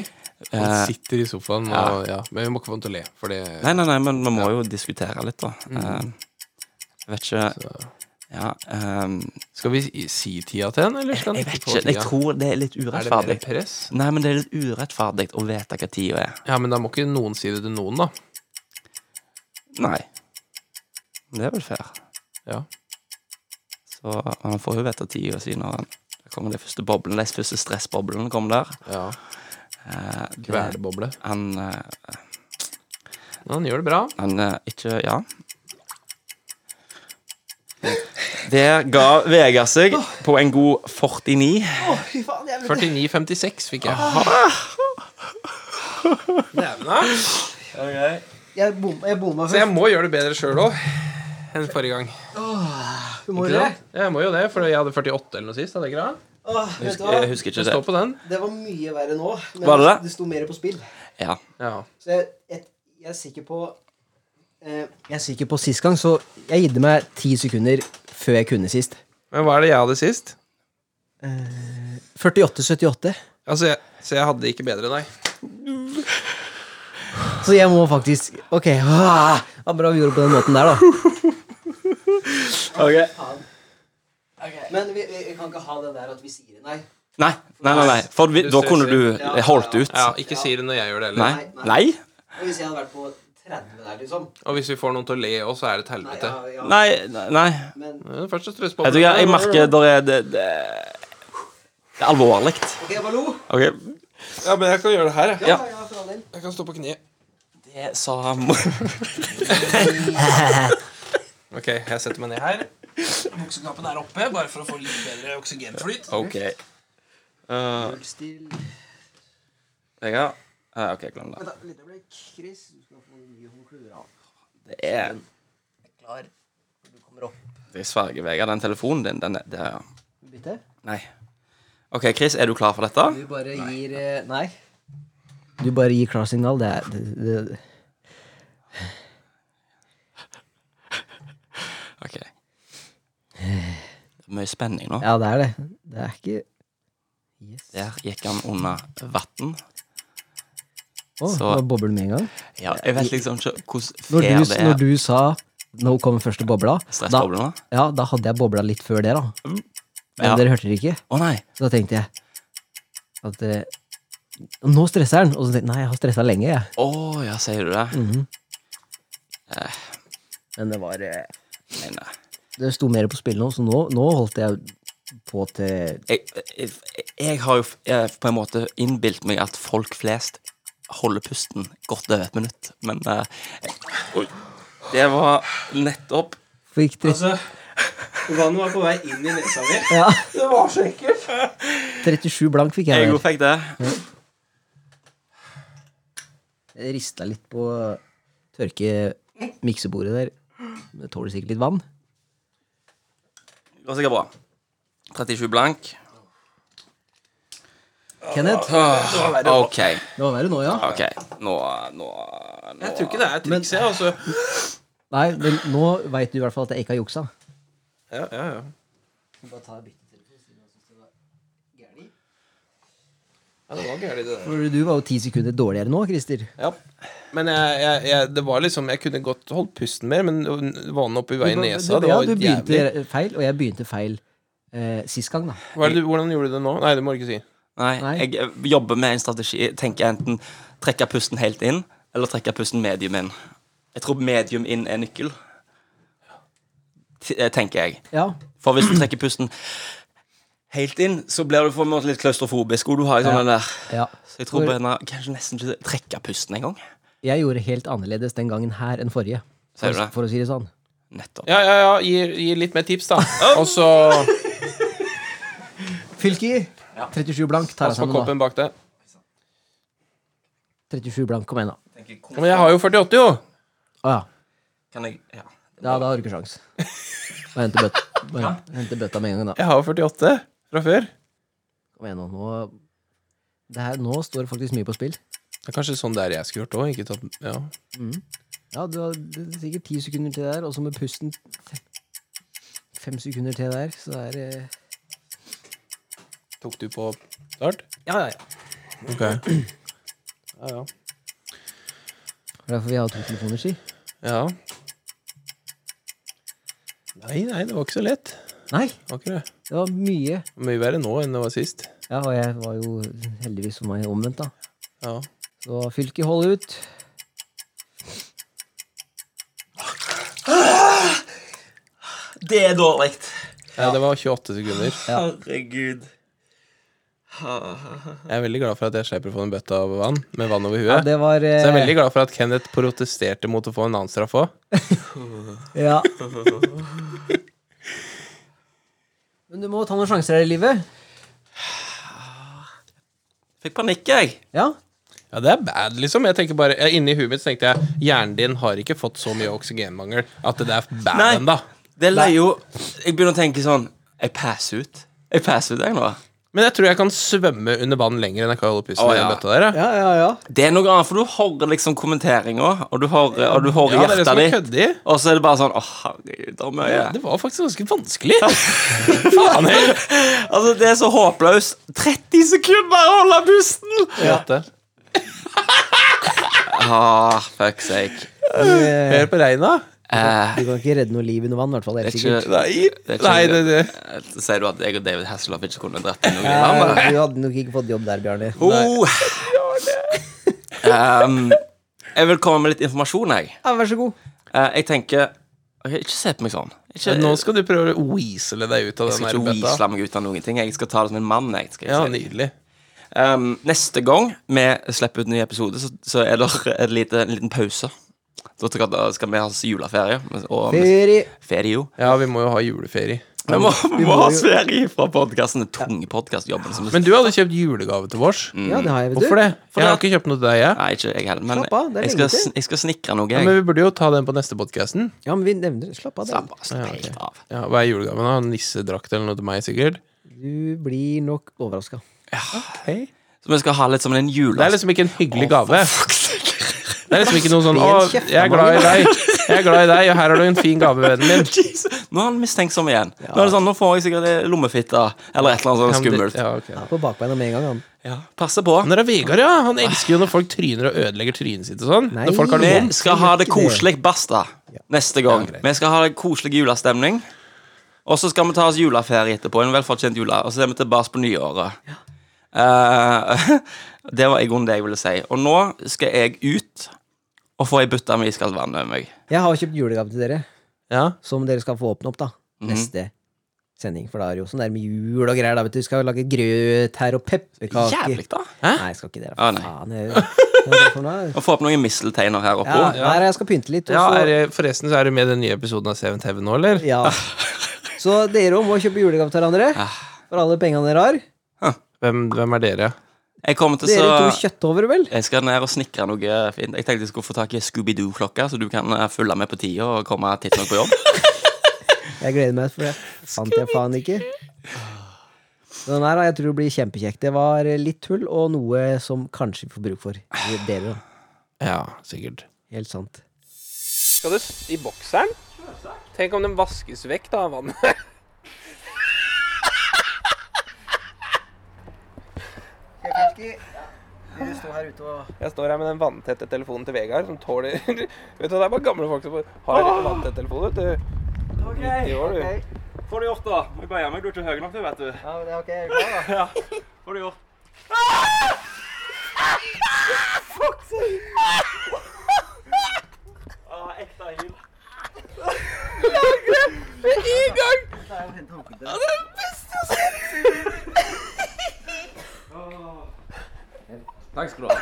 [SPEAKER 2] Han
[SPEAKER 1] Eh,
[SPEAKER 2] sitter i sofaen og ja. Men vi må ikke få han til å le, for det
[SPEAKER 1] Nei, nei, nei, men vi må jo diskutere litt, da. Eh, jeg vet ikke Ja. ehm,
[SPEAKER 2] Skal vi si- si tida til han, eller skal han
[SPEAKER 1] jeg vet
[SPEAKER 2] få
[SPEAKER 1] ikke. Jeg
[SPEAKER 2] tida?
[SPEAKER 1] tror det Sånn er litt
[SPEAKER 2] Er det
[SPEAKER 1] urettferdig.
[SPEAKER 2] mer press?
[SPEAKER 1] Nei, men det er litt urettferdig å vite hva tida er.
[SPEAKER 2] Ja, men da må ikke noen si det til noen, da.
[SPEAKER 1] Nei. Det er vel fair.
[SPEAKER 2] Ja.
[SPEAKER 1] Så han får jo vite tida si når han da kommer de første boblene, de første stressboblene kommer der.
[SPEAKER 2] ja.
[SPEAKER 1] Eh, det,
[SPEAKER 2] Kveleboble.
[SPEAKER 1] han eh,
[SPEAKER 2] Men han gjør det bra.
[SPEAKER 1] Han eh, ikke Ja. Der ga Vegard seg på en god 49.
[SPEAKER 2] 49,56 fikk jeg.
[SPEAKER 3] Jeg bomma
[SPEAKER 2] Så jeg må gjøre det bedre sjøl òg enn forrige gang.
[SPEAKER 3] Må
[SPEAKER 2] Ikke sant? Jeg må jo det, for jeg hadde 48 eller noe sist. Hadde jeg ikke det?
[SPEAKER 1] Jeg husker, jeg husker
[SPEAKER 2] Det
[SPEAKER 1] ikke
[SPEAKER 2] står
[SPEAKER 1] det.
[SPEAKER 2] på den.
[SPEAKER 3] Det var mye verre nå. Men altså,
[SPEAKER 1] Var det det?
[SPEAKER 3] sto mer på spill.
[SPEAKER 1] Ja.
[SPEAKER 2] Ja.
[SPEAKER 3] Så jeg, jeg, jeg er sikker på Eh, Jeg er sikker på sist gang, så jeg gitte meg ti sekunder før jeg kunne sist.
[SPEAKER 2] Men hva er det jeg hadde sist?
[SPEAKER 3] 48,78.
[SPEAKER 2] Altså, jeg, så jeg hadde det ikke bedre, nei.
[SPEAKER 3] Så jeg må faktisk Ok, ah, det var bra vi gjorde det på den måten der, da. Men vi, kan ikke ha det der at vi sier nei.
[SPEAKER 1] Nei, nei, nei, nei. for vi, da kunne du
[SPEAKER 3] Ja.
[SPEAKER 1] holdt ut.
[SPEAKER 2] Ja, ikke si det når jeg gjør det heller.
[SPEAKER 1] Nei. Nei?
[SPEAKER 3] Hvis jeg hadde vært på 30 der, liksom.
[SPEAKER 2] Og hvis vi får noen til å le òg, så er det et helvete.
[SPEAKER 1] Nei, nei.
[SPEAKER 2] Ja, Først så stress på
[SPEAKER 1] Jeg, tror jeg, jeg merker der er det, det, det er alvorlig.
[SPEAKER 3] Ok, jeg bare lo.
[SPEAKER 1] Ok.
[SPEAKER 2] Ja, men jeg kan gjøre det her, jeg.
[SPEAKER 1] Ja.
[SPEAKER 2] Jeg kan stå på kne.
[SPEAKER 1] Det sa mor.
[SPEAKER 2] Ok, jeg setter meg ned her. Bukseknappen er oppe, bare for å få litt bedre oksygenflyt.
[SPEAKER 1] Ok. Uh, jeg har eh, Ok, glem det. Det er Jeg sverger, Vegard. Den telefonen din, den er det, er-
[SPEAKER 3] Bytte?
[SPEAKER 1] Nei. OK, Chris, er du klar for dette?
[SPEAKER 3] Du bare gir eh, Nei. Du bare gir klarsignal. Det er det, det, det.
[SPEAKER 1] Ok. Det er mye spenning nå.
[SPEAKER 3] Ja, det er det. Det er ikke Yes.
[SPEAKER 1] Der gikk han under vann.
[SPEAKER 3] Å, oh,
[SPEAKER 1] Så-
[SPEAKER 3] bobler med en gang.
[SPEAKER 1] Ja, jeg vet liksom ikke hvordan
[SPEAKER 3] Når
[SPEAKER 1] fair
[SPEAKER 3] du,
[SPEAKER 1] det
[SPEAKER 3] når
[SPEAKER 1] er.
[SPEAKER 3] du sa 'nå kommer første bobla', da,
[SPEAKER 1] Stressboblene?
[SPEAKER 3] ja, da hadde jeg bobla litt før det, da. Men
[SPEAKER 1] Ja.
[SPEAKER 3] dere hørte det ikke.
[SPEAKER 1] Å nei.
[SPEAKER 3] Så da tenkte jeg at eh, Nå stresser han! Og så tenkte jeg nei, jeg har stressa lenge, jeg. Mhm.
[SPEAKER 1] Å ja, sier du det?
[SPEAKER 3] Men det var eh,
[SPEAKER 1] Nei, nei.
[SPEAKER 3] Det sto mer på spill nå, så nå, nå holdt jeg på til
[SPEAKER 1] jeg, jeg, jeg har jo f- jeg, på en måte innbilt meg at folk flest holder pusten godt over et minutt, men eh, jeg, Oi. Det var nettopp
[SPEAKER 3] For gikk tre-
[SPEAKER 2] Vannet var på vei inn i nesa mi.
[SPEAKER 3] ja,
[SPEAKER 2] Det var så ekkelt.
[SPEAKER 3] 37 blank fikk jeg
[SPEAKER 1] Jeg
[SPEAKER 3] der.
[SPEAKER 1] òg fikk det.
[SPEAKER 3] Jeg rista litt på tørke miksebordet der. Det tåler sikkert litt vann.
[SPEAKER 1] Det var sikkert bra. 37 blank.
[SPEAKER 3] Kenneth,
[SPEAKER 1] OK.
[SPEAKER 3] det var verre nå, ja.
[SPEAKER 1] ok Nå, nå, nå.
[SPEAKER 2] Jeg tror ikke det er triks, jeg, altså.
[SPEAKER 3] Nei, men nå veit du i hvert fall at jeg ikke har juksa.
[SPEAKER 2] Ja, ja, ja. Ja, det var gærlig, det der.
[SPEAKER 3] For du var jo ti sekunder dårligere nå, Christer.
[SPEAKER 2] Ja. Men jeg, jeg, jeg, det var liksom Jeg kunne godt holdt pusten mer, men vannet oppi veien i nesa,
[SPEAKER 3] Du-
[SPEAKER 2] det
[SPEAKER 3] ja,
[SPEAKER 2] var
[SPEAKER 3] du begynte
[SPEAKER 2] jævlig.
[SPEAKER 3] feil, og jeg begynte feil eh, sist gang, da.
[SPEAKER 2] Hva er det, du- hvordan gjorde du det nå? Nei, det må du ikke si.
[SPEAKER 1] Nei,
[SPEAKER 3] Nei.
[SPEAKER 1] jeg eh, jobber med en strategi. Jeg Tenker enten trekke pusten helt inn, eller trekke pusten medium inn. Jeg tror medium inn er nøkkel. T- eh, Tenker jeg.
[SPEAKER 3] Ja,
[SPEAKER 1] For hvis du trekker pusten helt inn, så blir du på en måte litt klaustrofobisk. Og du har sånn den der
[SPEAKER 3] ja.
[SPEAKER 1] Så jeg tror
[SPEAKER 3] For-
[SPEAKER 1] Brenna kanskje nesten ikke trekker pusten engang.
[SPEAKER 3] Jeg gjorde helt annerledes den gangen her enn forrige,
[SPEAKER 1] Sier
[SPEAKER 3] for,
[SPEAKER 1] du det?
[SPEAKER 3] for å si det sånn.
[SPEAKER 1] Nettopp.
[SPEAKER 2] Ja, ja, ja, gi, gi litt mer tips, da. Og så
[SPEAKER 3] Fylke! 37 blank, tar jeg
[SPEAKER 2] pass på
[SPEAKER 3] sammen nå.
[SPEAKER 2] koppen bak deg.
[SPEAKER 3] 37 blank, kom igjen, da.
[SPEAKER 2] Men jeg har jo 48, jo!
[SPEAKER 3] Å ja.
[SPEAKER 1] Kan jeg Ja.
[SPEAKER 3] Da, da har du ikke sjans. Bare hente bøtta, bare hente bøtta med en gang, da.
[SPEAKER 2] Jeg har jo 48 fra før.
[SPEAKER 3] Kom igjen, nå. Nå, det her, nå står det faktisk mye på spill.
[SPEAKER 2] Det er kanskje sånn der jeg skulle gjort òg. Ikke tatt Ja.
[SPEAKER 3] Ja, du har det er sikkert ti sekunder til der, og så med pusten fem sekunder til der, så er det
[SPEAKER 2] Tok du på start?
[SPEAKER 3] Ja, ja, ja.
[SPEAKER 2] Ok. Ja, ja.
[SPEAKER 3] Det er derfor vi har to telefoner, si.
[SPEAKER 2] ja. Nei, nei, det var ikke så lett.
[SPEAKER 3] Nei,
[SPEAKER 2] Det var ikke det.
[SPEAKER 3] det var mye.
[SPEAKER 2] Mye verre nå enn det var sist.
[SPEAKER 3] Ja, og jeg var jo heldigvis for meg omvendt, da.
[SPEAKER 2] Ja.
[SPEAKER 3] Så Fylke, hold ut.
[SPEAKER 1] Det er dårlig.
[SPEAKER 2] ja, det var 28 sekunder.
[SPEAKER 1] Herregud.
[SPEAKER 2] Jeg er veldig glad for at jeg slipper å få en bøtte av vann med vann over
[SPEAKER 3] Ja,
[SPEAKER 2] huet.
[SPEAKER 3] det var
[SPEAKER 2] Så
[SPEAKER 3] eh,
[SPEAKER 2] jeg er veldig glad for at Kenneth protesterte mot å få en annen straff òg.
[SPEAKER 3] Ja. Men du må ta noen sjanser her i livet.
[SPEAKER 1] Fikk panikk, jeg.
[SPEAKER 3] Ja.
[SPEAKER 2] Ja, det er bad, liksom. Jeg tenker bare, jeg, Inni huet mitt så tenkte jeg hjernen din har ikke fått så mye oksygenmangel at det er bad
[SPEAKER 1] Nei.
[SPEAKER 2] ennå.
[SPEAKER 1] Det leier jo Jeg begynner å tenke sånn Jeg passer ut. Jeg passer ut, jeg nå.
[SPEAKER 2] Men jeg tror jeg kan svømme under vann lenger enn jeg kan holde pusten
[SPEAKER 1] Å,
[SPEAKER 2] i den
[SPEAKER 1] ja.
[SPEAKER 2] bøtta der. jeg.
[SPEAKER 3] Ja, ja, ja.
[SPEAKER 1] Det er noe annet, for du hører liksom kommenteringa, og du hører, og du hører
[SPEAKER 2] Ja, det er det som
[SPEAKER 1] hjertet
[SPEAKER 2] er
[SPEAKER 1] ditt.
[SPEAKER 2] køddig.
[SPEAKER 1] Og så er det bare sånn Å, herregud, det er mye.
[SPEAKER 2] Det var faktisk ganske vanskelig. Faen heller.
[SPEAKER 1] Altså, det er så håpløst. 30 sekunder å holde pusten! Ah, fuck sake.
[SPEAKER 3] Du,
[SPEAKER 2] Hør på regna.
[SPEAKER 1] Eh,
[SPEAKER 3] du kan ikke redde noe liv under vann, i hvert fall. Det er
[SPEAKER 1] det er
[SPEAKER 3] sikkert.
[SPEAKER 1] ikke- det Eh, er
[SPEAKER 2] Nei,
[SPEAKER 1] ikke-
[SPEAKER 2] nei det, det.
[SPEAKER 1] eh, Sier du at jeg og David Hasselhoff ikke kunne drept noen? i
[SPEAKER 3] Ja,
[SPEAKER 1] landet?
[SPEAKER 3] Eh, du hadde nok ikke fått jobb der, Bjarne.
[SPEAKER 1] Oh. um, jeg vil komme med litt informasjon, jeg.
[SPEAKER 3] Ja, vær så god.
[SPEAKER 1] Eh, jeg tenker ok, Ikke se på meg sånn. Ikke,
[SPEAKER 2] Nå skal du prøve å weasele deg ut av
[SPEAKER 1] jeg
[SPEAKER 2] den
[SPEAKER 1] skal
[SPEAKER 2] der
[SPEAKER 1] ikke
[SPEAKER 2] bøtta.
[SPEAKER 1] weasle meg ut av noen ting. Jeg skal ta det som en mann. Jeg, skal jeg
[SPEAKER 2] Ja,
[SPEAKER 1] si.
[SPEAKER 2] nydelig.
[SPEAKER 1] Um, neste gang vi slipper ut en ny episode, så, så er det et lite, en liten pause. Da skal, da skal vi ha juleferie. Og
[SPEAKER 3] Feri.
[SPEAKER 1] ferie.
[SPEAKER 2] Ja, vi må jo ha juleferie.
[SPEAKER 1] Vi må, vi må ha
[SPEAKER 3] jo-
[SPEAKER 1] ferie fra podkasten. Den tunge podkastjobben. som-
[SPEAKER 2] Men du hadde kjøpt julegave til vårs.
[SPEAKER 3] Ja, det har jeg, vet du.
[SPEAKER 2] Hvorfor det?
[SPEAKER 1] Mm. For
[SPEAKER 2] Jeg har
[SPEAKER 1] det-
[SPEAKER 2] ikke kjøpt noe til deg, jeg.
[SPEAKER 1] Nei, ikke jeg heller. Men
[SPEAKER 3] Slapp av, det er
[SPEAKER 1] jeg, skal,
[SPEAKER 3] lenge
[SPEAKER 1] sn- jeg skal snikre noe,
[SPEAKER 2] Ja,
[SPEAKER 1] jeg.
[SPEAKER 2] men vi burde jo ta den på neste podkasten.
[SPEAKER 3] Ja, men vi nevner det. Slapp av.
[SPEAKER 1] Slapp
[SPEAKER 3] Da.
[SPEAKER 1] av. slapp helt av.
[SPEAKER 2] Ja, hva er julegaven? da? Nissedrakt eller noe til meg, sikkert?
[SPEAKER 3] Du blir nok overraska.
[SPEAKER 1] Så vi skal ha litt som en jule...
[SPEAKER 2] Det er liksom ikke en hyggelig gave. Det er liksom ikke noe sånn
[SPEAKER 3] Be
[SPEAKER 2] 'Å,
[SPEAKER 3] en
[SPEAKER 2] jeg
[SPEAKER 3] kjeft,
[SPEAKER 2] er glad i deg', jeg er glad i deg, og her har du en fin gave, vennen min.
[SPEAKER 1] Jesus. Nå er han mistenksom igjen. Nå er det sånn, nå får jeg sikkert en lommefitte eller et eller annet sånt
[SPEAKER 2] Ja, men det-
[SPEAKER 1] skummelt.
[SPEAKER 2] Ja, ok.
[SPEAKER 3] På bakbeina med en gang, han.
[SPEAKER 1] Ja. Passe på.
[SPEAKER 2] Han er Vegard, ja. Han elsker jo når folk tryner og ødelegger trynet sitt og sånn.
[SPEAKER 3] Nei.
[SPEAKER 2] Når folk har det
[SPEAKER 1] Vi
[SPEAKER 2] vondt.
[SPEAKER 1] skal ha det koselig, basta, neste gang.
[SPEAKER 2] greit.
[SPEAKER 1] Vi skal ha det koselig julestemning. Og så skal vi ta oss juleferie etterpå, en velfortjent jule, og så er vi tilbake på nyåret. Eh, det var i grunnen det jeg ville si. Og nå skal jeg ut og få ei bøtte med iskaldt vann over meg.
[SPEAKER 3] Jeg har kjøpt julegave til dere,
[SPEAKER 2] Ja.
[SPEAKER 3] som dere skal få åpne opp, da. Neste sending. For da er det jo sånn der med jul og greier, da, vet du. Skal lage grøt her og pepperkaker.
[SPEAKER 1] Jævlig, da.
[SPEAKER 3] Nei, jeg skal ikke det. da.
[SPEAKER 1] Ah, nei.
[SPEAKER 3] Faen, jeg- Hva er det for noe?
[SPEAKER 1] Og få opp noen mistelteiner her oppe.
[SPEAKER 3] Ja, nei, jeg skal pynte litt. Og
[SPEAKER 2] ja
[SPEAKER 3] så,
[SPEAKER 2] er det, forresten, så er du med i den nye episoden av Seven Heaven nå, eller?
[SPEAKER 3] ja. så dere òg må kjøpe julegave til hverandre. For alle pengene dere har.
[SPEAKER 2] Hvem, hvem er dere?
[SPEAKER 1] Jeg kommer til så
[SPEAKER 3] Dere to kjøttovere, vel?
[SPEAKER 1] jeg skal ned og snikre noe fint. Jeg tenkte jeg skulle få tak i Scooby-Doo-klokka, så du kan eh, følge med på tida og komme tidsnok på jobb.
[SPEAKER 3] Jeg gleder meg, for det fant jeg faen ikke. Så Den her, da, jeg tror det blir kjempekjekt. Det var litt tull, og noe som kanskje vi får bruk for. Dere, da.
[SPEAKER 2] Ja, sikkert.
[SPEAKER 3] Helt sant.
[SPEAKER 2] Skal du i bokseren? Tenk om den vaskes vekk, da, vannet. Jeg står her med den vanntette telefonen til Vegard, som tåler Vet du, det er bare gamle folk som har vanntett telefon, vet du.
[SPEAKER 1] Får du gjort, da? Må jeg bøye meg, du er ikke høy nok, du, vet du. Får du gjort. Ah, ekte hyl. Takk skal du ha.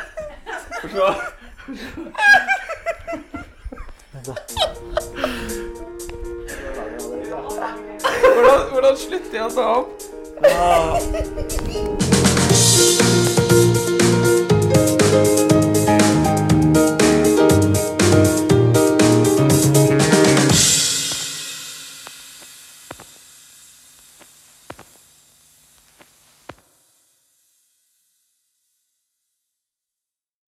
[SPEAKER 2] Hvordan, hvordan slutter jeg å ta opp?